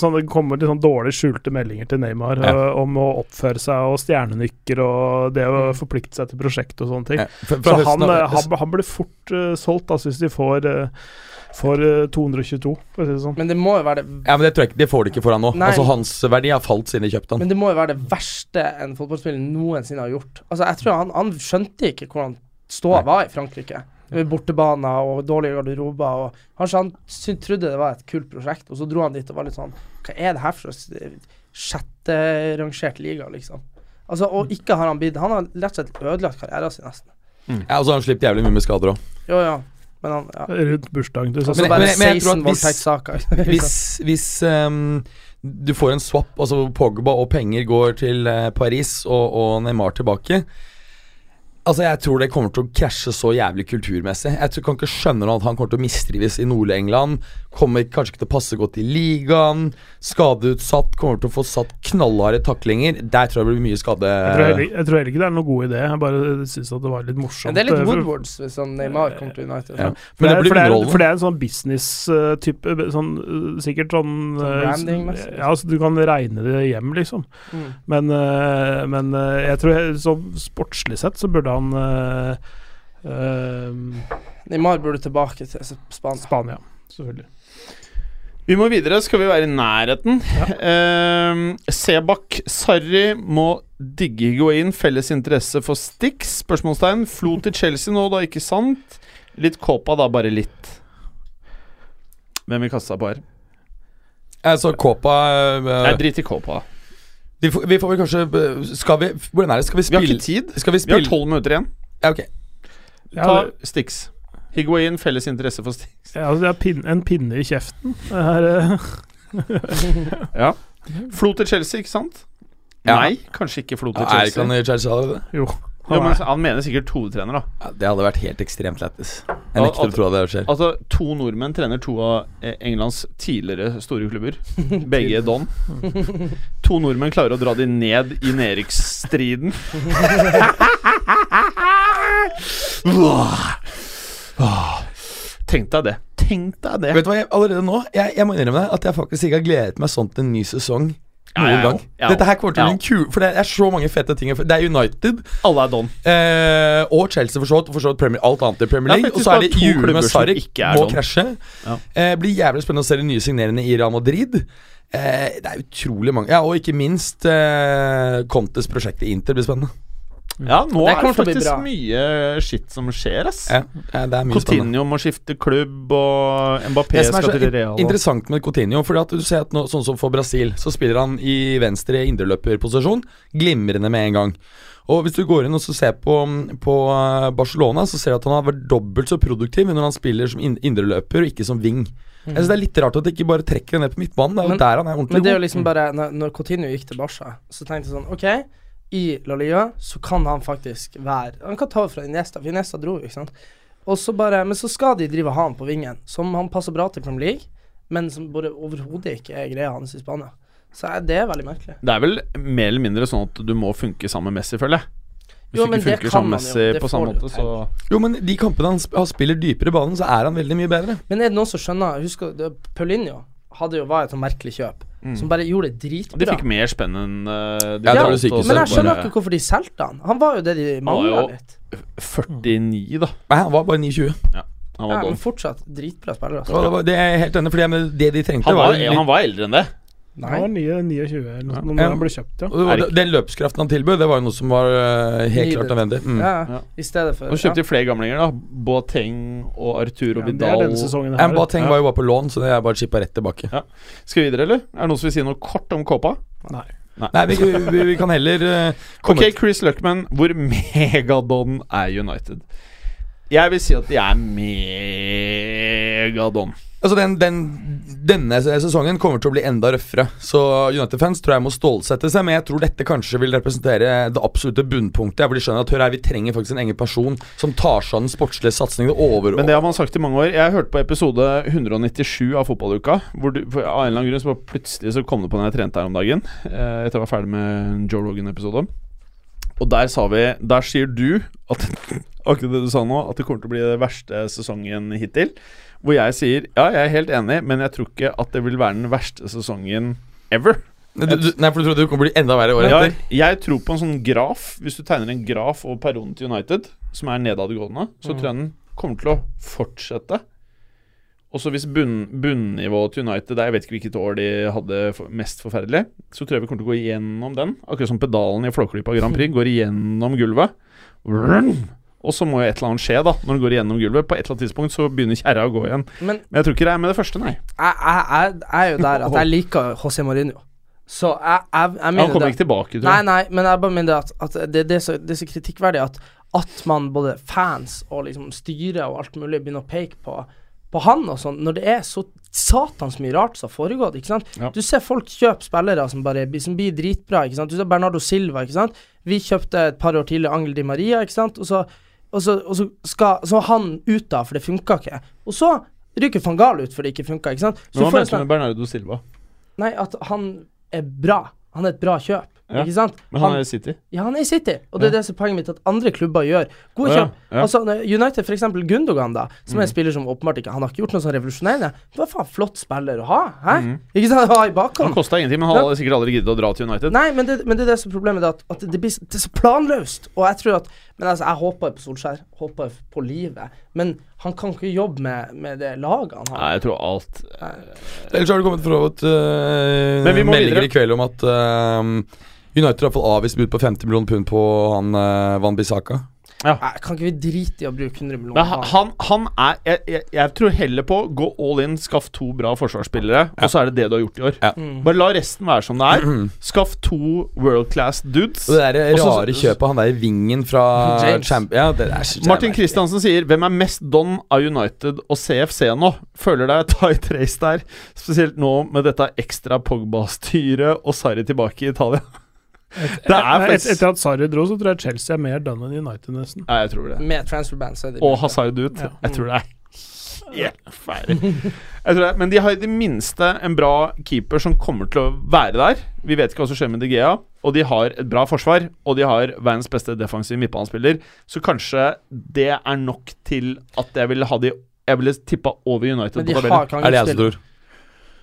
sånn, Det kommer til sånn dårlig skjulte meldinger til Neymar Ja. eh, om å oppføre seg og stjernenykker og det å forplikte seg til prosjekt og sånne ting. Mm. ja, fra, fra Så han, høsten av- eh, han, han blir fort eh, solgt, altså, hvis de får, eh, får eh, 222, for å si det sånn. Men det må jo være det Ja, men det tror jeg ikke, det får de ikke for han nå. Nei. Altså, hans verdi har falt siden de kjøpte han. Men det må jo være det verste en fotballspiller noensinne har gjort. Altså, jeg tror Han, han skjønte ikke hvordan ståa var i Frankrike. Med bortebaner og dårlige garderober. Og kanskje han sy- trodde det var et kult prosjekt, og så dro han dit og var litt sånn Hva er det her for slags eh, sjetterangert liga, liksom? Altså, Og ikke har han bidd. Han har rett og slett ødelagt karrieren sin, nesten. Ja, og så har han slipt jævlig mye med skader òg. Jo, ja. Men han ja. Rundt bursdagen til Og så søsteren. Men- bare men- men jeg tror 16 at hvis- voldtektssaker. (laughs) Hvis, Liksom. hvis ehm, du får en swap, altså Pogba og penger går til eh, Paris og, og Neymar tilbake Altså, jeg tror det kommer til å krasje så jævlig kulturmessig. Jeg tror, kan ikke skjønne nå at han kommer til å mistrives i Nord-England. Kommer kanskje ikke til å passe godt i ligaen. Skadeutsatt. Kommer til å få satt knallharde taklinger. Der tror jeg det blir mye skade. Jeg tror, heller, jeg tror heller ikke det er noen god idé, jeg bare syns at det var litt morsomt. Men det eh, er litt for- Woodwards hvis han Neymar kommer til United. Ja. For Men det er- blir for er- underholdende. For det er en sånn business-type sånn, øh, Sikkert sånn, øh, branding-messig, s- liksom. Ja, altså, du kan regne det hjem, liksom. Mm. Men, øh, men øh, jeg tror jeg- sånn sportslig sett så burde han øh, øh, Neymar burde tilbake til Spania. Spania, selvfølgelig. Vi må videre, skal vi være i nærheten. Ehm, Sebak Sarri må digge Higuain. Felles interesse for Stix? Spørsmålstegn. Flo til Chelsea nå, da, ikke sant? Litt Kåpa, da, bare litt. Hvem vil kaste seg på her? Altså, Kåpa eh, Jeg driter i Kåpa. Vi får, vi får vel kanskje b- Skal vi Hvordan er det? Skal vi Vi har spille ikke tid. Skal vi Vi har spille tolv minutter igjen. ja, ok. Ja, Ta det- Stix. Higuain, felles interesse for Stix. Ja, altså, det er pin, en pinne i kjeften. (laughs) Det er, øh, Flo til Chelsea, ikke sant? Ja. Nei, kanskje ikke Flo til Er ikke han Chelsea. i Chelsea allerede? jo. Jo, men han mener sikkert hovedtrener, da. Ja, det hadde vært helt ekstremt lættis. Jeg Ja, nekter at- å tro at det skjer. Altså, to nordmenn trener to av eh, Englands tidligere store (laughs) klubber. Begge Don. To nordmenn klarer å dra de ned i nedrykksstriden. Åh. Åh. Tenk deg det. Tenk deg det. Vet du hva, jeg, Allerede nå jeg, jeg må innrømme deg at jeg faktisk ikke har gledet meg sånn til en ny sesong Ja, Noen ja, ja. gang. Ja. Dette her kommer til å bli Ja. en kul For det er så mange fete ting. å f- Det er United Alle er don. eh, og Chelsea, for så vidt. og For så vidt Premier, alt annet i Premier Det er League. Og faktisk så er bare det to julet klubber med som Sarek. ikke er Må sånn. krasje. Ja. Eh, blir jævlig spennende å se de nye signeringene i Real Madrid. Eh, det er utrolig mange. Ja, Og ikke minst eh, Contes prosjekt i Inter blir spennende. Ja, nå er Det det kommer til å bli faktisk bra. mye shit som skjer, ass. Ja, ja, det er mye spennende. Coutinho må skifte klubb, og Mbappé Det som er skal så til in- Real. og- interessant med Coutinho Fordi at du ser at nå, Sånn som for Brasil, så spiller han i venstre indreløperposisjon. Glimrende med en gang. Og Hvis du går inn og så ser på, på eh, Barcelona, så ser du at han har vært dobbelt så produktiv når han spiller som in- indreløper og ikke som wing. Jeg synes Det er litt rart at de ikke bare trekker det ned på midtbanen. Det er jo Men- der han er ordentlig Men det er jo god. liksom bare Når, når Coutinho gikk til Barca, så tenkte jeg sånn OK, i La Liga så kan han faktisk være Han kan ta over fra Iniesta, for Iniesta dro jo, ikke sant. Og så bare, men så skal de drive og ha han på vingen, som han passer bra til Premier League, men som bare overhodet ikke er greia hans i Spania. Så er det er veldig merkelig. Det er vel mer eller mindre sånn at du må funke sammen med Messi, føler jeg. Hvis Jo, du men ikke det funker kan sammen med man jo. Messi Det på samme får du måte, til. så Jo, men de kampene han sp han spiller dypere i banen, så er han veldig mye bedre. Men er det noen som skjønner Husker du, Paulinho hadde jo var et sånt merkelig kjøp, som bare gjorde det De dritbra. fikk mer spenn enn eh, de Ja, det hadde, var sånn det og så sykeste. men jeg bare skjønner ikke hvorfor de solgte han. Han var jo det de mangla jo- litt. 49, da. Nei, han var bare 9,20. Han Ja, var, men don. fortsatt dritbra spillere. Og Altså. det, var, det er jeg helt enig i, for det- det de trengte, han, var, var, litt- han var eldre enn det. Nei. Han var 29 eller noe sånt Ja. når han ble kjøpt, ja. og det var- Er ikke- Den løpskraften han tilbød, det var jo noe som var eh, helt klart nødvendig. Mm. Ja, Ja. ja. I stedet for Nå kjøpte de flere gamlinger, da. Boateng og Arturo ja det er Vidal. denne sesongen Ja, men her. Boateng var jo bare på lån, så det er bare chippa rett tilbake. Skal vi videre, eller? Er det noen som vil si noe kort om Kåpa? Nei, vi, vi, vi kan heller eh, komme Ok, Chris Luckman, hvor megadon er United? Jeg vil si at de er megadon. Altså den, den, Denne sesongen kommer til å bli enda røffere. Så United-fans tror jeg må stålsette seg, men jeg tror dette kanskje vil representere det absolutte bunnpunktet. Hvor de skjønner at hør her, vi trenger faktisk en egen person som tar seg av den sportslige satsingen. Det over Men det har man sagt i mange år. Jeg hørte på episode 197 av Fotballuka. Hvor du, for av en eller annen grunn så bare plutselig så kom det på når jeg trente her om dagen. Eh, etter jeg var ferdig med en Joe Rogan-episode. Og der sa vi Der sier du at (laughs) akkurat det du sa nå, at det kommer til å bli det verste sesongen hittil. Hvor jeg sier ja, jeg er helt enig, men jeg tror ikke at det vil være den verste sesongen ever. du, du, Nei, for du trodde det kommer til å bli enda verre året Ja, etter? jeg tror på en sånn graf. Hvis du tegner en graf over perioden til United, som er nedadgående, Mm. så tror jeg den kommer til å fortsette. Og så hvis bunn, bunnivået til United er Jeg vet ikke hvilket år de hadde for, mest forferdelig. Så tror jeg vi kommer til å gå igjennom den. Akkurat som pedalen i Flåklypa Grand Prix går igjennom gulvet. Vrrn! Og så må jo et eller annet skje, da. Når den går igjennom gulvet. På et eller annet tidspunkt så begynner kjerra å gå igjen. Men Men jeg tror ikke det er med det første, nei. jeg, jeg, jeg, jeg er jo der (laughs) at jeg liker José Mourinho. Så jeg, jeg, jeg mener Han kommer det. ikke tilbake, tror Nei, jeg. nei, men jeg bare mener det at, at det, det, er så, det er så kritikkverdig at, at man både fans og liksom styret og alt mulig begynner å peke på, på han og sånn, når det er så satans mye rart som har foregått, ikke sant. Ja. Du ser folk kjøpe spillere som bare blir- som blir dritbra, ikke sant. Du ser Bernardo Silva, ikke sant. Vi kjøpte et par år tidligere Angel Di Maria, ikke sant. Og så, og så, og så skal så er han ut da, for det funka ikke. Og så ryker van Gaal ut for det ikke funka, ikke sant. Men Så hva får jeg mente du sånn- med Bernardo Silva? Nei, at han er bra. Han er et bra kjøp. Ja. Ikke sant? Men han er i City. ja, han er i City, og det er det som er poenget mitt, at andre klubber gjør Å, gode ja, kjøp. ja. Mhm. Altså, når United, for eksempel Gundogan, da, som er en spiller som åpenbart ikke Han har ikke gjort noe sånn revolusjonerende. Det var faen flott spiller å ha, hæ? Ikke sant? (laughs) Å ha i Mhm. Han bakhånd. kosta ingenting, men han hadde sikkert aldri giddet å dra til United. Nei, men det, men det er det som er problemet, det er at, at det, blir, så- det er så planløst. Og jeg tror at Men altså, jeg håper på Solskjær, håper på livet, men han kan ikke jobbe med, med det laget han har. Nei, jeg tror alt Ellers har det kommet for så vidt eh, Men vi må meldinger videre. i kveld om at eh, United har fått avvist bud på 50 millioner pund på han uh, Van Bissaka. Nei, Kan ikke vi drite i å bruke 100 millioner? Men ha- han, han er jeg, jeg, jeg tror heller på gå all in, skaff to bra forsvarsspillere, og så er det det du har gjort i år. Ja. Bare la resten være som det er. Skaff to world class dudes. Og det der Og så- rare kjøpet, han der i vingen (laughs) fra James. Champ... Ja, det er så Martin jævlig. Kristiansen sier 'Hvem er mest don av United og CFC nå?' Føler deg tight race der, spesielt nå med dette ekstra Pogba-styret og Sarri tilbake i Italia. Det er Nei, et, faktisk etter at Sarri dro, så tror jeg Chelsea er mer done enn United, nesten. Ja, jeg tror det. Med transferband, så er det og Hazard ut. Jeg tror det er (laughs) helt ferdig. Jeg tror det, men de har i det minste en bra keeper som kommer til å være der. Vi vet ikke hva som skjer med De Gea. Og de har et bra forsvar, og de har verdens beste defensive midtbanespiller. Så kanskje det er nok til at jeg ville ha de Jeg ville tippa over United Men de på har tabellen. ikke Er det jeg som tror?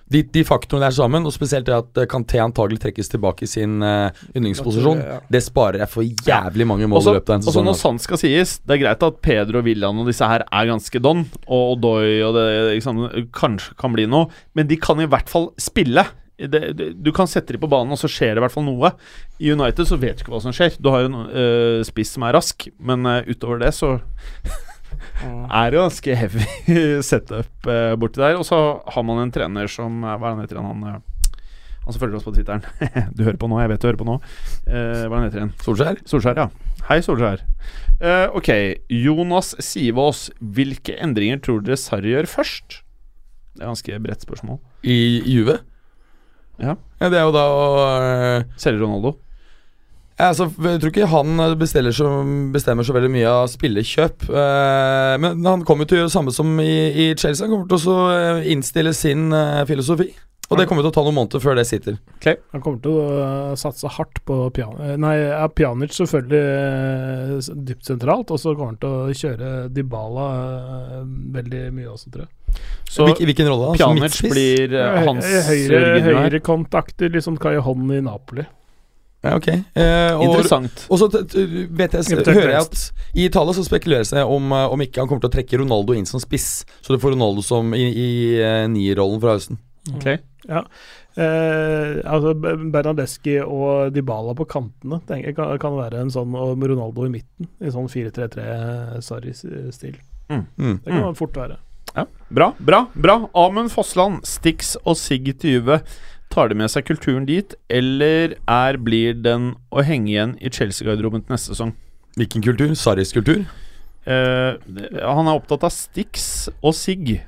de, de faktorene der sammen, og spesielt det at eh, Kanté antagelig trekkes tilbake i sin eh, yndlingsposisjon, Ja. det sparer jeg for jævlig mange mål Også, i løpet av en også sesong. altså. når sant skal sies, det er greit at Pedro Villan og disse her er ganske don, og Odoi og det ikke sant, kanskje kan bli noe, men de kan i hvert fall spille. Det, det, du kan sette dem på banen, og så skjer det i hvert fall noe. I United så vet du ikke hva som skjer. Du har en øh, spiss som er rask, men øh, utover det så er det ganske heavy (laughs) setup øh, borti der. Og så har man en trener som øh, Hva er det han heter igjen? han? øh, Han som følger oss på Twitteren. (laughs) du hører på nå, jeg vet du hører på nå. Eh, hva er det han heter igjen? Solskjær? Solskjær, ja. Hei, Solskjær. Eh, ok, Jonas Sivås, hvilke endringer tror dere Sarri gjør først? Det er et ganske bredt spørsmål. I, I Juve? Ja. Det er jo da å eh, Selger Ronaldo. Ja, Altså, jeg tror ikke han bestiller så, bestemmer så veldig mye av spillekjøp. eh, men han kommer til å gjøre det samme som i, i Chelsea. Han kommer til å så, eh, innstille sin eh, filosofi. Og det kommer til å ta noen måneder før det sitter. Han kommer til å øh, satse hardt på pian eh, Nei, ja, Pjanic selvfølgelig eh, s- dypt sentralt, og så kommer han til å kjøre Dybala eh, veldig mye også, tror jeg. Så Hvilken, hvilken rolle? da? Som Pjanic midtspiss? blir eh, Høy- hans høyre, Jørgen her. høyrekontakter, liksom Kai Hånd i Napoli. Ja, ok. Eh, og, Interessant. og så t- t- vet jeg, Eventuelt hører jeg at i Italia så spekuleres det om, eh, om ikke han kommer til å trekke Ronaldo inn som spiss. Så du får Ronaldo som i, i eh, nierrollen fra høsten. Ok. Mm. Eh, altså B- Bernadeschi og Dybala på kantene tenker jeg kan, kan være en sånn, og med Ronaldo i midten, i sånn eh, 4-3-3-Sarri-stil. Mm. Det kan Mm. fort være. Bra, bra, bra. Amund Fossland, Stix og Sigg til Juve. Tar de med seg kulturen dit, eller er blir den å henge igjen i Chelsea-garderoben til neste sesong? Hvilken kultur? Sarris kultur? Eh, det- han er opptatt av Stix og Sigg,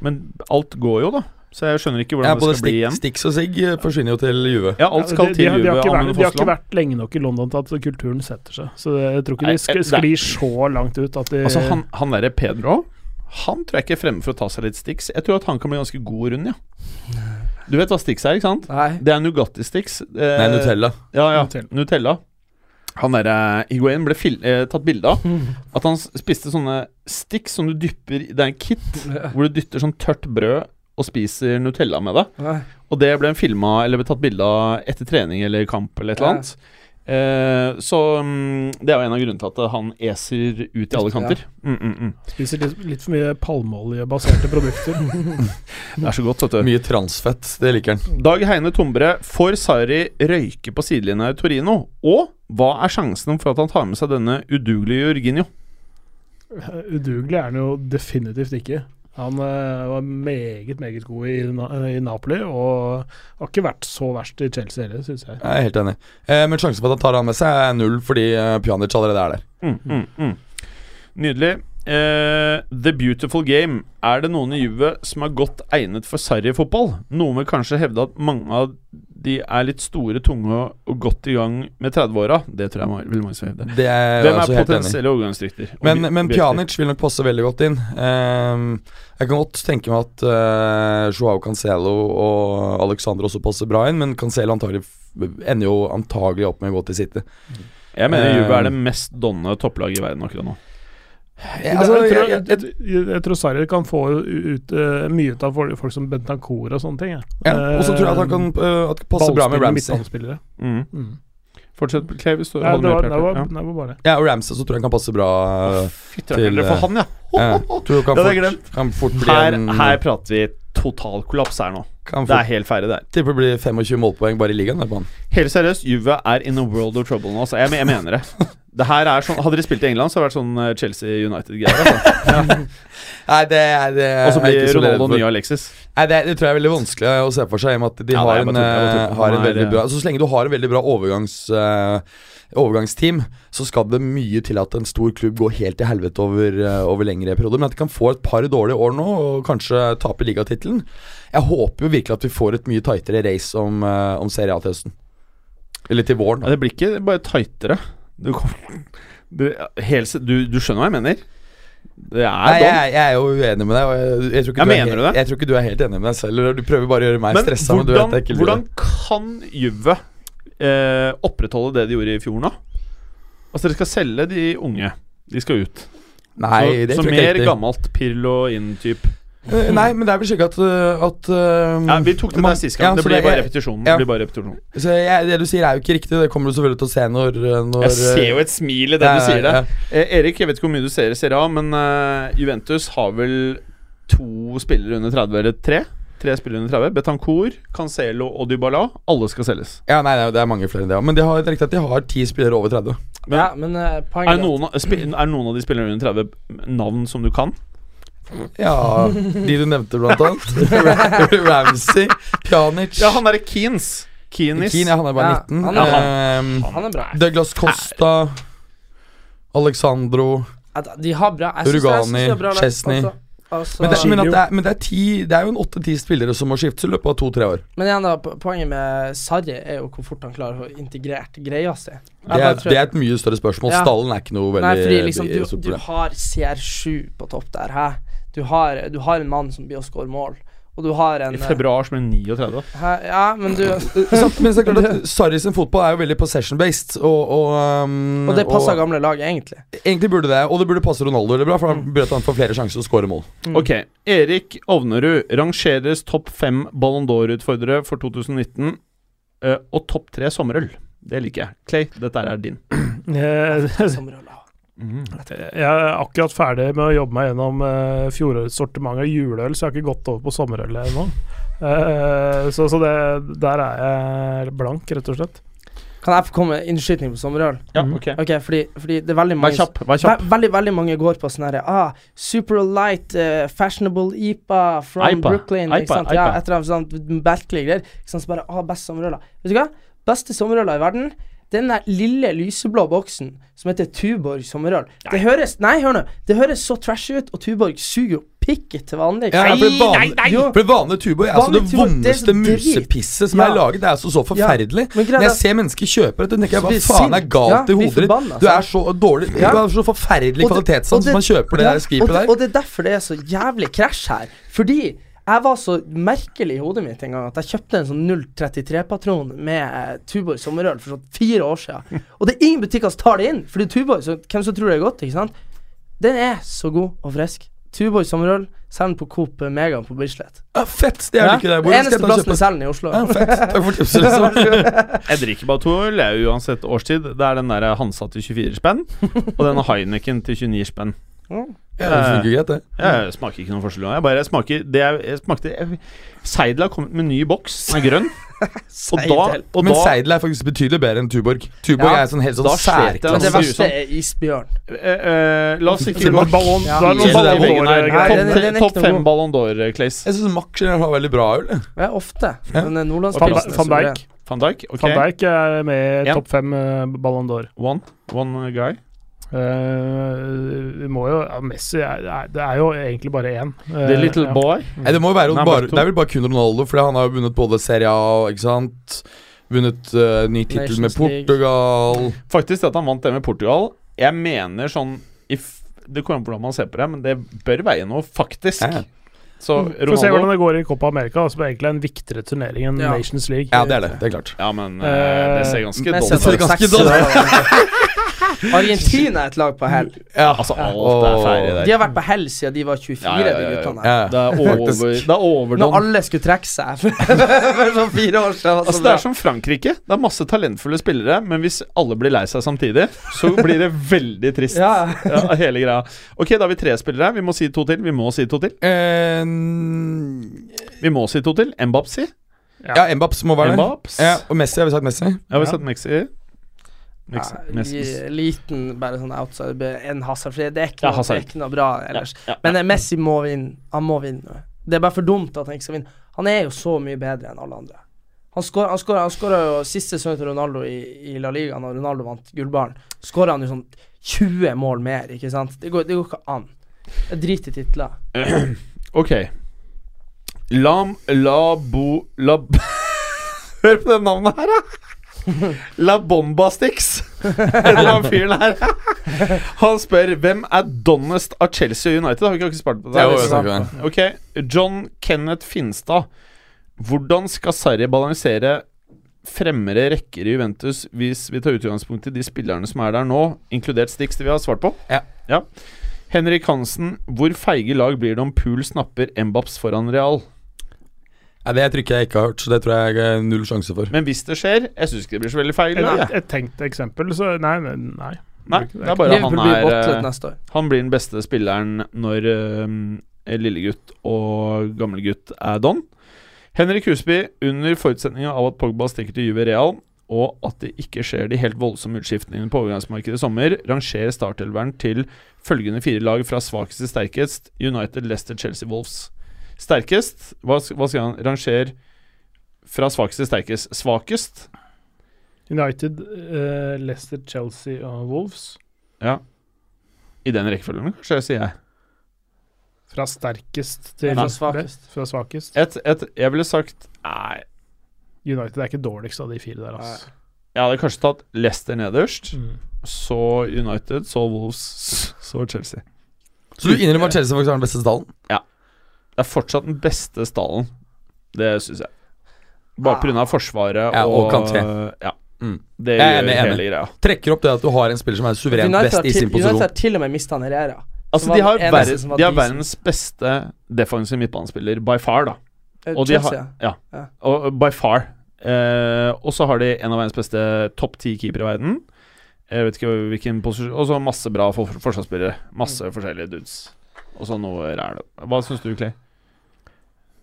men alt går jo, da. Så jeg skjønner ikke hvordan Ja, det både skal bli igjen. Stix Stix og Sigg eh, forsvinner jo til Juve. Ja, alt Ja, skal de, til de, har- de, Juve. har ikke Amund vært, de har ikke Fossland. vært lenge nok i London til at kulturen setter seg. Så jeg tror ikke eh, Nei, de sk det- sklir så langt ut at de Altså, han, han derre Pedro Han tror jeg ikke er fremme for å ta seg litt Stix. Jeg tror at han kan bli ganske god rund, ja. Du vet hva Stix er, ikke sant? Nei. Det er Nugatti-Stix. Eh, Nei, Nutella. Ja, ja. Nutella. Nutella. Han derre Higuain ble fil eh, tatt bilde av. Mm. At han s- spiste sånne Stix som du dypper i- Det er en kit (laughs) hvor du dytter sånn tørt brød og spiser Nutella med det. (laughs) Nei. Og det ble en filma eller ble tatt bilde av etter trening eller kamp eller et Ja. eller annet. Eh, så mm, det er jo en av grunnene til at han eser ut i alle kanter. Mm, mm, mm. spiser litt, litt for mye palmeoljebaserte produkter. (laughs) Det er så godt, vet du. Mye transfett. Det liker han. Dag Heine Tombre, får Sarri røyke på sidelinja i Torino? Og hva er sjansen for at han tar med seg denne udugelige Jorginho? Udugelig er han jo definitivt ikke. Han eh, var meget, meget god i, Na i Napoli, og har ikke vært så verst i Chelsea heller, syns jeg. Jeg er helt enig. Eh, men sjansen for at han tar han med seg, er null, fordi eh, Pjanic allerede er der. Mm, mm, mm. Nydelig. Eh, the Beautiful Game. Er det noen i Juve som er godt egnet for Sarri-fotball? Noen vil kanskje hevde at mange av de er litt store, tunge og- og godt i gang med 30-åra. Det tror jeg ma- vil mange som hevde. Det er jeg Hvem er altså helt enig i. potensielle overgangsdykter? Og Men, vi- men vi- Pjanic vil nok passe veldig godt inn. Ehm, jeg kan godt tenke meg at eh, Joao Cancelo og Alexander også passer bra inn, men Cancelo antagelig f- ender jo antagelig opp med å gå til City. Jeg mener Juve er Eh, det mest donne topplaget i verden akkurat nå. Jeg, altså, jeg, jeg, tror, jeg, jeg, jeg, jeg tror Sarri kan få ut eh, mye ut av folk, folk som Bentancour og sånne ting. jeg. ja, og så tror jeg at han kan eh, at det passer bra med Ballspillere, Ramsey. midtbanespillere. Mm. Mm. Fortsett, Clay. Hvis du Nei, holder det, var, med det, var, Pjanic. det var bare det. Ja, og Ramsey så tror jeg han kan passe bra. Ja. (laughs) eh, Fytti til, eh, rakkeren, for han, ja! ja. tror jeg kan Det hadde jeg fort, kan fort bli Her, en her prater vi totalkollaps her nå. Kan Det er fort helt ferdig, det her. tipper det blir 25 målpoeng bare i ligaen. Der, på han. Helt seriøst, Juve er in a world of trouble nå. Altså. Jeg, jeg mener det. det her er sånn, hadde de spilt i England, så hadde det vært sånn eh, Chelsea United-greier. (laughs) Altså. Nei, det er det er Og så jeg blir ikke så redd Ronaldo for. ny Alexis. Nei, det, det tror jeg er veldig vanskelig eh, å se for seg. i og med At de Ja, har, nei, jeg en, bare tror- jeg bare eh, tror har en han er- veldig bra altså, Så lenge du har en veldig bra overgangs, eh, overgangsteam, så skal det mye til at en stor klubb går helt til helvete over, eh, over lengre perioder. Men at de kan få et par dårlige år nå, og kanskje tape ligatittelen Jeg håper jo virkelig at vi får et mye tightere race om, eh, om Serie A til høsten. Eller til våren. Ja, det blir ikke bare tightere. Du, kommer- du, helt, se- du, du skjønner hva jeg mener? Det Nei, er jeg, dom. er- jeg er jo uenig med deg. Og jeg, jeg, tror Ja, ikke du er mener helt, du det? jeg tror ikke du er helt enig med deg selv. Eller du prøver bare å gjøre meg Men stressa. Men du hvordan, vet jeg ikke vil hvordan det. kan Juve eh, opprettholde det de gjorde i fjor nå? Altså, dere skal selge de unge. De skal ut. Nei, så det så tror jeg ikke mer riktig. gammelt Pirlo inn-type. Eh, Nei, men det er vel slik at, eh, at eh, Ja, vi tok det man- der sist gang. Ja, det så blir bare er- repetisjonen. ja. Det blir bare repetisjonen. Så jeg, det du sier er jo ikke riktig. Det kommer du selvfølgelig til å se når, eh, når Jeg ser jo et smil i det Ja, du sier ja, det. ja. Eh, Erik, jeg vet ikke hvor mye du ser i Serie A, men eh, Juventus har vel to spillere under 30, eller tre? Tre spillere under 30. Betancour, Cancelo og Dybala. Alle skal selges. Ja, nei, nei, det er mange flere enn det òg. Men de har, det er riktig at de har ti spillere over 30. Men- ja, men eh, Er poenget noen, av- spi- er noen av de spillerne under 30 navn som du kan? Ja, De du nevnte, blant (laughs) annet. Ramsey, Pjanic Ja, han derre Keanes. Keenis. Keane, ja, han er bare Ja, 19. han er Ehm, Han er bra. Douglas Costa, Alexandro Ja, da- De har bra. Jeg synes- jeg synes Rugani, det er bra lag. Chesney. Altså, altså, Men det, men men, at det, er, men det, er, ti, det er jo en åtte-ti spillere som må skiftes i løpet av to-tre år. igjen, da. po- Poenget med Sarri er jo hvor fort han klarer å integrere greia si. Det er, det er et mye større spørsmål. Ja. Stallen er ikke noe veldig Nei, fordi liksom, veldig du, stort du problem. har CR7 på topp der, hæ? Du har, du har en mann som blir å score mål, og du har en eh, I februar som er 39. Hæ? Ja, men du Men sant, men så er det klart (laughs) at Sarri sin fotball er jo veldig possession-based. Og, og, um, Og det passer gamle lag, egentlig. Egentlig burde det, og det burde passe Ronaldo veldig bra, for Mm. da burde han få flere sjanser til å skåre mål. Mm. Ok, Erik Ovnerud rangeres topp fem Ballon d'Or-utfordrere for 2019. eh, og topp tre sommerøl. Det liker jeg. Clay, dette er din. Jeg, Som ruller. Eh, (laughs) Mm. jeg er akkurat ferdig med å jobbe meg gjennom eh, fjorårets sortiment av juleøl, så jeg har ikke gått over på sommerøl ennå. Eh, så så det, der er jeg blank, rett og slett. Kan jeg få komme med innskyting på sommerøl? Ja, ok Ok, fordi, fordi det er veldig Vær mange kjapp. vær Ve kjapp veldig, veldig mange går på sånn herre ah, Super light, eh, fashionable IPA from IPA, Brooklyn. IPA, ikke sant? Ja, IPA. et eller annet sånt merkelig greier. Ikke sant? Så bare ah, best sommerøla. Vet du hva? Beste sommerøla i verden. det er Den der lille lyseblå boksen som heter Tuborg sommerøl. Det høres Nei, hør nå. Det høres så trashy ut, og Tuborg suger jo pikket til vanlig. ikke Ja, sant? for det vanlige, Jo, For det vanlige tubo er altså Vanlig det tubo, det er så vondeste drit. musepisset som Ja. er laget. Det er altså så forferdelig. men greia Når er jeg at- ser mennesker kjøpe dette, tenker jeg hva blir faen er sint. Ja, galt i blir hodet ditt? forbanna, Du sant? er så dårlig Du Ja. har så forferdelig Og det- og kvalitetssans det- når man kjøper det ja, der skvipet og det- der. Og det er derfor det er så jævlig krasj her. Fordi jeg var så merkelig i hodet mitt en gang at jeg kjøpte en sånn 033-patron med eh, Tuborg sommerøl for sånn fire år (laughs) siden. Og det er ingen butikker som tar det inn, fordi Tuborg, så hvem som tror det er godt, ikke sant? Den er så god og frisk. Tuborg sommerøl selger den på Coop Mega på Bislett. Ja, fett! Det er det Ja, ikke der. Hvor skal Eneste jeg ta og plassen kjøpe jeg selger den i Oslo. ja, Fett. (laughs) Takk for tipset. (laughs) Liksom. Jeg drikker bare to øl, jeg, uansett årstid. Det er den der Hansa til 24 spenn, og den Heineken til 29 spenn. Ja, det funker greit, det. Jeg smaker ikke noen forskjell. nå. Jeg bare smaker det jeg, jeg smakte jeg, Seidel har kommet med en ny boks. Den er grønn. (laughs) Og da, Seidel. og Men da Seidel er faktisk betydelig bedre enn Tuborg. Tuborg Ja. er sånn helt sånn Da slet jeg, særklasse. Men det altså. verste sånn. er isbjørn. eh, eh, La oss ikke gå Det var ballon, Ja. det var noen Jesus, det er ballon veggen Topp- over, eh, Nei, den- den er Topp ikke noe fem god. Ballon d'Or, eh, Clays. Jeg syns Max generelt har veldig bra øl. Mm. jeg. Ja, ofte. Ja. Men eh, Van, Nordlandspilsen er Van suveren. Dijk. Van Dijk, ok. Van Dijk er med i En. topp fem eh, Ballon d'Or. One, one guy. Eh, vi må jo ja, Messi er, er, Det er jo egentlig bare én. Eh, The little ja. boy. Nei, det må jo være Nei, bare, Marco. Det er vel bare kun Ronaldo, Fordi han har jo vunnet både Serie A, ikke sant? Vunnet eh, ny tittel med Nations League. Portugal Faktisk det at han vant det med Portugal. Jeg mener sånn if, Det kommer an på hvordan man ser på det, men det bør veie noe, faktisk. Ja, ja. Så Får se hvordan Ronaldo det går i Copa America, som egentlig er en viktigere turnering enn Ja. Nations League. Ja, det er det. Det er klart. Ja, men eh, det ser ganske dårlig Messi ser ut. har tatt ganske seks i dag. (laughs) Argentina er et lag på hell. Ja, Altså, alt er ferdig De der. har vært på hell siden de var 24, Ja, ja, ja, ja. de guttene ja. her. Det er over, Faktisk. det er Når overdone. alle skulle trekke seg for (laughs) sånn fire år siden. var Altså, det bra. er som Frankrike. Det er masse talentfulle spillere, men hvis alle blir lei seg samtidig, så blir det veldig trist. ja. Ja, hele greia. Ok, da har vi tre spillere. Vi må si to til. Vi må si to til. Eh, Vi må si to til. Mbapsi. ja, Mbaps må være der. Mbaps. Ja, og Messi har vi sagt Messi. Jeg har Ja. sett Mexi. Mexi. Ja, Messi. i- Liten, bare sånn outside En Hazard. For det er ikke Ja, noe, det Hazard. er ikke noe bra Ja, ellers. ja. Men eh, Messi må vinne. Han må vinne. nå. Det er bare for dumt at han ikke skal vinne. Han er jo så mye bedre enn alle andre. Han skåra han scorer- han scorer jo siste sesong til Ronaldo i, i La Liga, når Ronaldo vant gullballen. Skåra han jo sånn 20 mål mer, ikke sant? Det går, det går ikke an. Jeg driter i titler. Ok. Lam la bo la (laughs) Hør på det navnet her, da! La Bomba Sticks. Det var en fyren her. Han spør hvem er donnest av Chelsea og United. Har vi ikke akkurat spart på det? Jo, jo, takk for det. Ok, John Kenneth Finstad. Hvordan skal Sarri balansere fremmere rekker i Juventus hvis vi tar utgangspunkt i de spillerne som er der nå, inkludert Stix, det vi har svart på? Ja. Henrik Hansen, hvor feige lag blir det om Pool snapper Mbaps foran Real? Nei, det trykket jeg ikke har hørt, så det tror jeg jeg er null sjanse for. Men hvis det skjer Jeg syns ikke det blir så veldig feil. Et, Nei, et tenkt eksempel, så Nei. nei, nei. nei det er bare han Liverpool blir er eh, bottlet neste år. Han blir den beste spilleren når eh, lillegutt og gamlegutt er don. Henrik Husby, under forutsetninga av at Pogba stikker til Juve Real, og at det ikke skjer de helt voldsomme utskiftningene på overgangsmarkedet i sommer, rangerer startelveren til følgende fire lag fra svakest til sterkest United, Leicester, Chelsea, Wolves. Sterkest Hva, sk- hva skal han Ranger fra svakest til sterkest. Svakest? United, eh, Leicester, Chelsea og Wolves. Ja. I den rekkefølgen, kanskje, sier jeg. Fra sterkest til Fra svakest. Fra svakest. Et, et, jeg ville sagt Nei, United er ikke dårligst av de fire der, altså. Jeg hadde kanskje tatt Leicester nederst, Mm. så United, så Wolves, (laughs) så Chelsea. Så du innrømmer at Chelsea faktisk har den beste stallen? Det er fortsatt den beste stallen, det syns jeg. Bare pga. forsvaret Ah. Ja, og og, Kanté. Ja. Mm. Det Jeg er gjør enig, jeg er hele greia. Trekker opp det at du har en spiller som er suverent United har best i til, sin United posisjon. har til og med mista Herrera. Altså, var de har, den eneste verden- som var de har decent. verdens beste defensive midtbanespiller by far, da. Eh, Og de Chelsea. har, ja. Ja. Og, og by far. Eh, og så har de en av verdens beste topp ti keepere i verden. Jeg vet ikke hvilken posisjon Og så masse bra for, forsvarsspillere. Masse Mm. forskjellige dudes. Og så noe ræl. Hva syns du, Clay?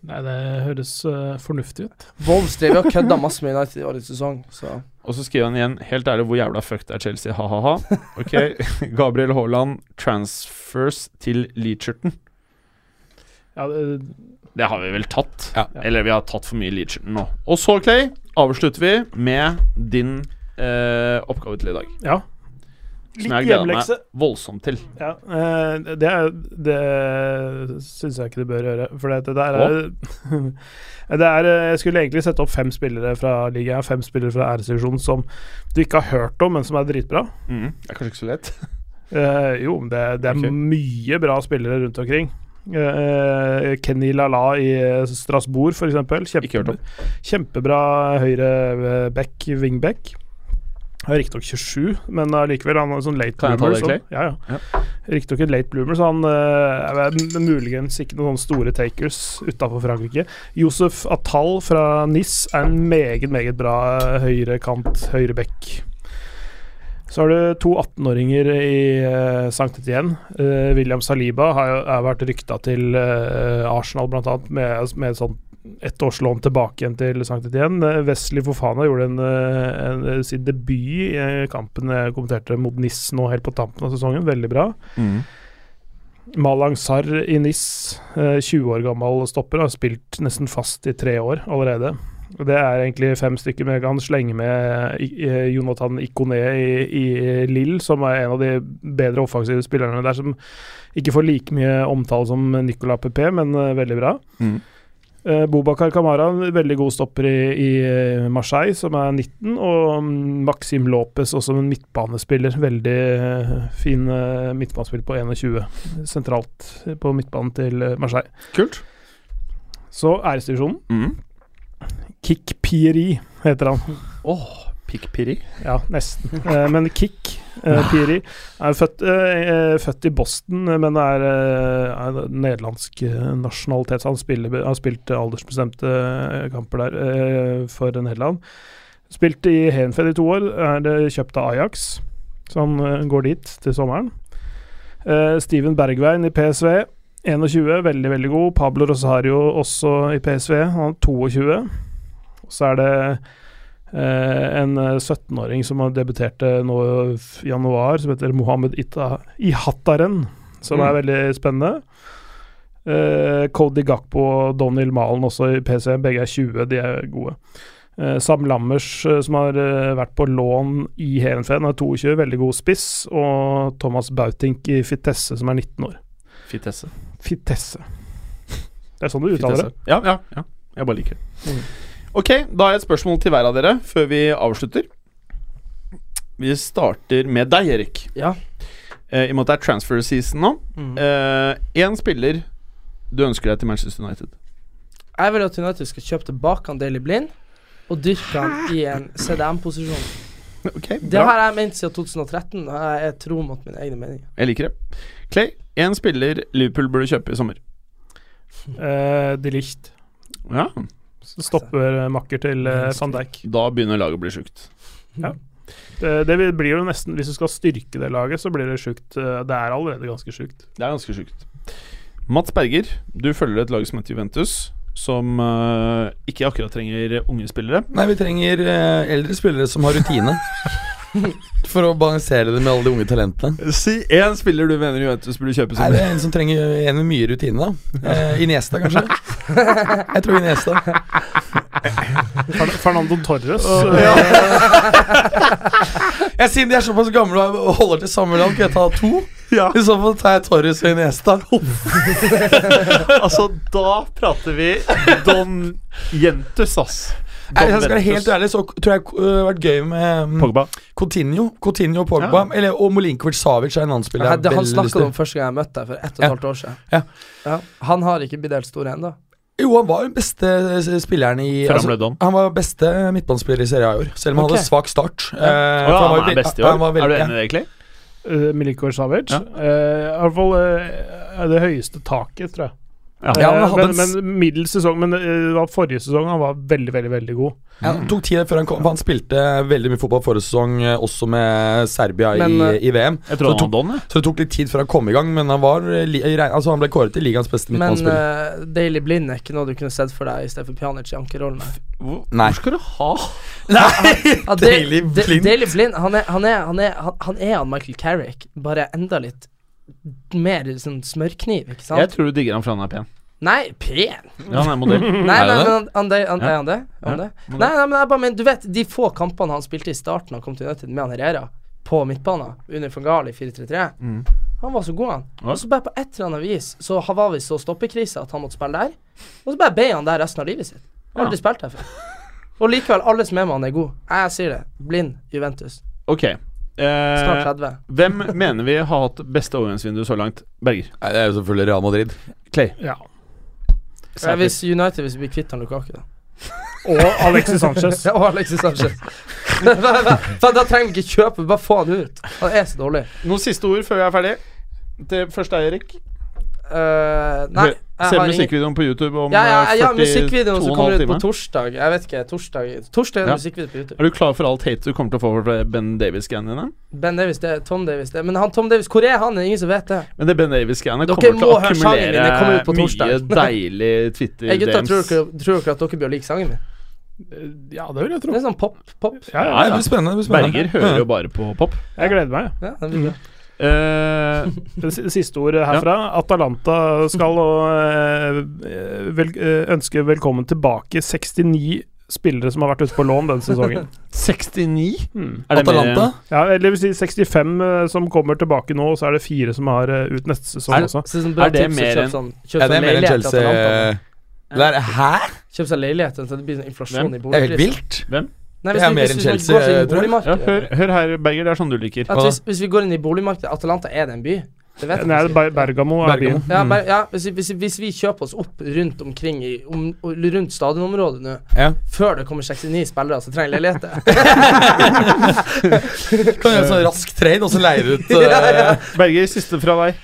Nei, det høres eh, fornuftig ut. Wolves driver og kødda masse med United i årets sesong, så Og så skriver han igjen Helt ærlig, hvor jævla fucked er Chelsea? Ha-ha-ha. Ok. (laughs) Gabriel Haaland transfers til Leacherton. Ja, det, Det har vi vel tatt? Ja. Eller vi har tatt for mye Leacherton nå. Og så, Clay, avslutter vi med din eh, oppgave til i dag. ja. Som jeg gleder meg voldsomt til. Ja, eh, det, er- det syns jeg ikke du bør gjøre. For det, det der er, (laughs) det er eh, Jeg skulle egentlig sette opp fem spillere fra ligaen, fem spillere fra æresdivisjonen som du ikke har hørt om, men som er dritbra. Mm. Det er kanskje ikke så lett. Eh, jo, men det, det er Ok. mye bra spillere rundt omkring. Eh, Kenny Lala i eh, Strasbourg, f.eks. Ikke hørt om. Kjempe, kjempebra høyreback, wingback. Han er riktignok 27, men allikevel han er sånn late Kan jeg ta det, bloomer. Clay? så, ja, ja. Riktignok en late bloomer, så han eh, er vel muligens ikke noen sånne store takers utafor Frankrike. Josef Atal fra NIS er en meget, meget bra eh, høyrekant, høyreback. Så har du to 18-åringer i uh, Sankt Etienne. Eh, William Saliba har, jo- har vært rykta til eh, Arsenal, bl.a., med, med sånn ett års lån tilbake igjen til Sankt Etienne. Eh, Wesley Fofana gjorde en, eh, en, eh, sin debut i eh, kampen jeg kommenterte mot Nis nå helt på tampen av sesongen. Veldig bra. Mm. Malang Sarr i NIS, eh, 20 år gammel stopper, har spilt nesten fast i tre år allerede. Og Det er egentlig fem stykker, men jeg kan slenge med eh, Jonathan Ikoné i, i Lill, som er en av de bedre offensive spillerne der, som ikke får like mye omtale som Nicolas Pepé, men eh, veldig bra. Mm. Eh, Bobakar Kamara, en veldig god stopper i, i eh, Marseille, som er 19. Og mm, Maxim Lopez, også en midtbanespiller. Veldig eh, fin eh, midtbanespiller på 21, sentralt på midtbanen til eh, Marseille. Kult. Så æresdivisjonen. Mm. Kik Pieri heter han. Pikkpiri. Ja, nesten. Eh, men Kik eh, Pieri er født, eh, eh, født i Boston, eh, men er, eh, er nederlandsk eh, nasjonalitet. Så han spiller, har spilt eh, aldersbestemte eh, kamper der eh, for Nederland. Spilte i Henfed i to år, er det kjøpt av Ajax, så han eh, går dit til sommeren. Eh, Steven Bergveien i PSV, 21, veldig, veldig god. Pablo Rosario også i PSV, han er 22. Så er det Eh, en eh, 17-åring som har debuterte nå i januar, som heter Mohammed Ita Ihataren, som er veldig spennende. Eh, Cody Gakpo og Donald Malen også i PC, begge er 20, de er gode. Eh, Sam Lammers, eh, som har eh, vært på lån i Heerenveen, er 22, veldig god spiss. Og Thomas Bautink i Fitesse, som er 19 år. Fitesse. Fitesse. Det er sånn du uttaler det. altså. Ja, ja, ja. Jeg bare liker det. Ok, da har jeg et spørsmål til hver av dere før vi avslutter. Vi starter med deg, Erik. Ja. Eh, I og med at det er transfer season nå. mm. Én spiller du ønsker deg til Manchester United. Jeg vil at United skal kjøpe tilbake han Daily Blind og dyrke han i en CDM-posisjon. Ok, Det bra. har jeg ment siden 2013, og jeg er tro mot mine egne meninger. Jeg liker det. Clay, Én spiller Liverpool burde kjøpe i sommer. Eh, de Licht. Ja, Så Altså, Stopper eh, makker til eh, van Dijk. Eh, Da begynner laget å bli sjukt. Det, det vil- blir jo nesten Hvis du skal styrke det laget, så blir det sjukt. eh, Det er allerede ganske sjukt. Det er ganske sjukt. Mats Berger, du følger et lag som heter Juventus, som eh, ikke akkurat trenger unge spillere. Nei, vi trenger eh, eldre spillere som har rutine. For å balansere det med alle de unge talentene. Si én spiller du mener Juventus burde kjøpe Er det en som trenger en med mye rutine, da? Eh, Iniesta, kanskje? Jeg tror Iniesta. Fer- Fernando (laughs) Torres. eh, Ja. Jeg, siden de er såpass gamle og holder til samme land, kan jeg ta to? Ja. I så fall tar jeg Torres og Iniesta. altså, da prater vi Don Jentus, ass. Nei, Jeg skal være helt ærlig, så tror jeg eh, det har vært gøy med mm, Pogba. Coutinho, Coutinho og Pogba. Eller, og Molinkovic-Savic er en annen spiller. Nei, jeg det har han veldig lyst snakka til. om første gang jeg møtte deg, for ett og et Ja. halvt år siden. Ja. Ja. Han har ikke blitt helt stor ennå. Jo, han var den beste eh, spilleren i Før han altså, ble dom. Han var beste eh, midtbanespiller i Serie A i år, selv om han Ok. hadde svak start. Å Eh, for ja, var han jo er veld- best i år. han var Er du veldig- enig i det, egentlig? Uh, Milinkovic Savic. Ja. Eh, I hvert fall eh, det høyeste taket, tror jeg. Ja. Eh, Ja, men han hadde en men, s- men middels sesong. Men eh, det var forrige sesong han var veldig, veldig veldig god. Ja, det tok tid før han kom, for han spilte veldig mye fotball forrige sesong, eh, også med Serbia Men, eh, i, i VM. Jeg Så tror tok- han var Don, jeg. Så det tok litt tid før han kom i gang, men han, var, eh, li, i regn- altså han ble kåret til ligaens beste Men midtbanespiller. uh, Daily Blind er ikke noe du kunne sett for deg i stedet for Pjanic i ankerrollene. (laughs) Hvor, Nei. skal du ha Ja, Daily Da- Blind. Daily Blind han, er, han, er, han, er, han, han er han Michael Carrick, bare enda litt mer sånn smørkniv, ikke sant? Jeg tror du digger han for han er pen. Nei, pen! Ja, han Mm. er (laughs) modell. Nei, Er det nei, det? men han, han, er han, Ja. er han det? Er han Ja, det? må Nei, nei, men jeg bare mener, du vet, de få kampene han spilte i starten han kom til United med han Herrera, på midtbanen, under Fangali 4-3-3 Mm. Han var så god, han. Ja. Og så bare på et eller annet vis så ha- var vi så stoppekrisa at han måtte spille der. Og så bare ble han der resten av livet sitt. Han har Aldri spilt her før. Og likevel, alle som er med han, er gode. Jeg sier det. Blind Juventus. Ok. Snart Eh, 30. hvem mener vi har hatt beste overgangsvindu så langt? Berger. Nei, det er jo selvfølgelig Real Madrid. Clay. Ja. Ja, Eh, hvis United hvis vi blir kvitt han Lukaku, da. Og Alexis (laughs) Sanchez. Ja, (laughs) og Alexis Sanchez. For da trenger vi ikke kjøpe, bare få han ut. Han er så dårlig. Noen siste ord før vi er ferdig? Det første er Erik. Eh, nei, jeg Ser har ingen musikkvideoen på YouTube om ja, ja, eh, ja, 42 musikkvideoen som kommer ut på timer. torsdag. Jeg vet ikke, torsdag Torsdag er det Ja. musikkvideo på YouTube. Er du klar for alt hate du kommer til å få fra Ben Davies-greiene dine? Ben Davis, det er Tom Davis. Det. Men han Tom Davis, hvor er han? Det er ingen som vet det. Men det Ben Davies-greiene Dere kommer til å må høre sangen min, den kommer ut på akkumulere mye (laughs) torsdag. deilig Twitter-DMs. Hey, gutta, tror dere, tror dere at dere blir å like sangen min? Eh, Ja, det vil jeg Det tro. er sånn pop, pop. Ja, Nei, ja. det blir spennende. Det blir spennende. Berger hører jo bare på (laughs) pop. Jeg gleder meg. Ja, den blir bra. Mm. Eh, Det si- siste ordet herfra. Atalanta skal nå eh, vel, eh, ønske velkommen tilbake 69 spillere som har vært ute på lån (laughs) denne sesongen. 69? Hmm. Er det mer- Atalanta? Ja, eller det vil si 65 eh, som kommer tilbake nå, og så er det fire som har eh, ut neste Er- sesong også. Så sånn bra Er det tips å mer kjøpe enn- sånn, Ja, kjøpe det er sånn mer enn leilighet til Atalanta. Chelsea. eh, Det er, hæ? Kjøpe seg leilighet så det blir sånn inflasjon Hvem? i Det er helt boligpris. vilt. Nei, hvis Det er vi- mer hvis enn vi Chelsea, går inn i tror jeg. boligmarkedet- Ja, hør, hør her, Berger. Det er sånn du liker. At hvis, hvis vi går inn i boligmarkedet Atalanta er den by. Det vet jeg Nei, ikke. Ber- Bergamo er Bergamo. byen. Ja, bare, ja hvis, vi- hvis, vi- hvis vi kjøper oss opp rundt omkring i, om, Rundt stadionområdet nå, Ja. før det kommer 69 spillere som (laughs) trenger leiligheter Kan gjøre sånn rask trade, og så leier ut eh, Ja, (laughs) ja. Berger, siste fra deg.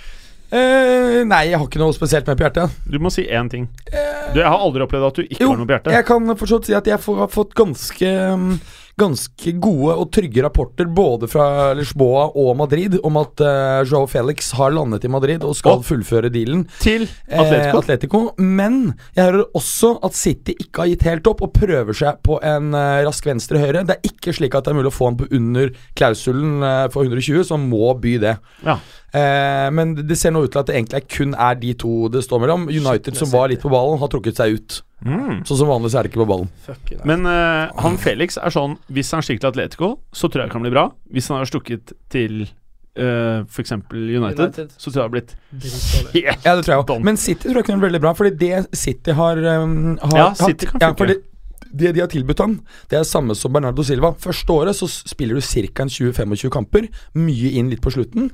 eh, Nei, jeg har ikke noe spesielt med på hjertet. Du må si én ting. Du, jeg har aldri opplevd at du ikke Jo, har noe på hjertet. Jeg kan fortsatt si at jeg får, har fått ganske mm, Ganske gode og trygge rapporter både fra Lisboa og Madrid om at uh, Joao Felix har landet i Madrid og skal Å. fullføre dealen. Til Eh, Atletico. Atletico. Men jeg hører også at City ikke har gitt helt opp og prøver seg på en eh, rask venstre-høyre. Det er ikke slik at det er mulig å få han på under klausulen eh, for 120, så han må by det. Ja. Eh, men det det ser nå ut til at det egentlig kun er de to det står mellom. United, som var litt på ballen, har trukket seg ut. Mm. Sånn som vanlig så er det ikke på ballen. Fuck you, nei. Men eh, han Felix er sånn Hvis han stikker til Atletico, så tror jeg det kan bli bra. Hvis han har stukket til uh, f.eks. United, United. så tror jeg det har blitt Dritdårlig. (laughs) helt Ja, det tror jeg også. Don. Men City tror jeg kunne vært veldig bra, fordi det City har, um, har Ja, City kan ja, funke. fordi det de har tilbudt han, det er samme som Bernardo Silva. Første året så spiller du ca. 20-25 kamper, mye inn litt på slutten,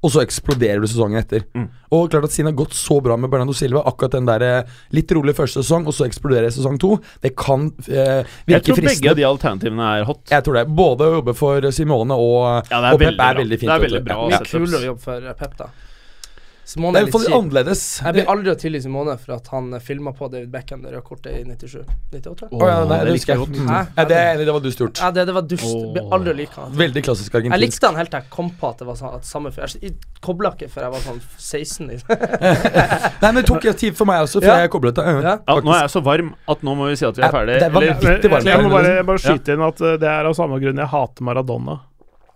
og så eksploderer du sesongen etter. Mm. Og klart at siden det har gått så bra med Bernardo Silva, akkurat den der eh, litt rolig første sesong, og så eksploderer det i sesong to, det kan eh, Jeg virke tror begge av fristende. de alternativene er hot. Jeg tror det. Både å jobbe for Simone og, Ja, det er og eh, veldig Pep bra. er veldig fint. Det er vet du. veldig bra. Ja. Mye kulere jobb for eh, Pep, da. Simone Det er i hvert er litt fall kjip. annerledes. Jeg blir aldri å tilgi Simone for at han filma på David Beckham det røde kortet i 97. 98? Å ja, nei, det husker jeg. godt. Mm. Hæ? Ja, det, er jeg enig i, det var dust gjort. Ja, det, det var dust. Jeg blir Åh. aldri å like han. Veldig klassisk Jeg argentinsk. likte han helt til jeg kom på at det var sånn at samme fyr. Jeg kobla ikke før jeg var sånn 16. Liksom. Nei, men Det tok tid for meg også, før Ja. jeg koblet det. Ja. Ja, nå er jeg så varm at nå må vi si at vi er Ja, ferdig. det var Eller- vanvittig varmt Eh, Jeg må her, bare, liksom. jeg bare skyte inn at eh, det er av samme grunn jeg hater Maradona.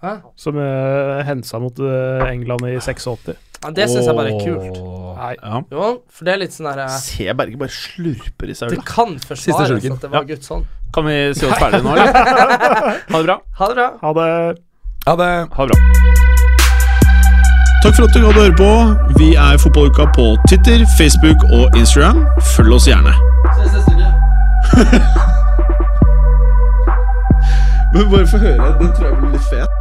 Hæ? Som uh, hensa mot eh, England i 86. Ja, det syns jeg bare er kult. Nei. Ja. Jo, for det er litt sånn der eh, Se Berge bare slurper i seg Det øl. kan forsvares slurken. at det var gutt sånn. Kan vi si oss ferdige nå, (laughs) eller? Ha det bra. Ha det bra. Ha det. Ja, det... Ha det bra. Takk for at du gadd å høre på. Vi er Fotballuka på Twitter, Facebook og Instagram. Følg oss gjerne. Ses neste uke. Men bare få høre. Den tror jeg blir litt fet.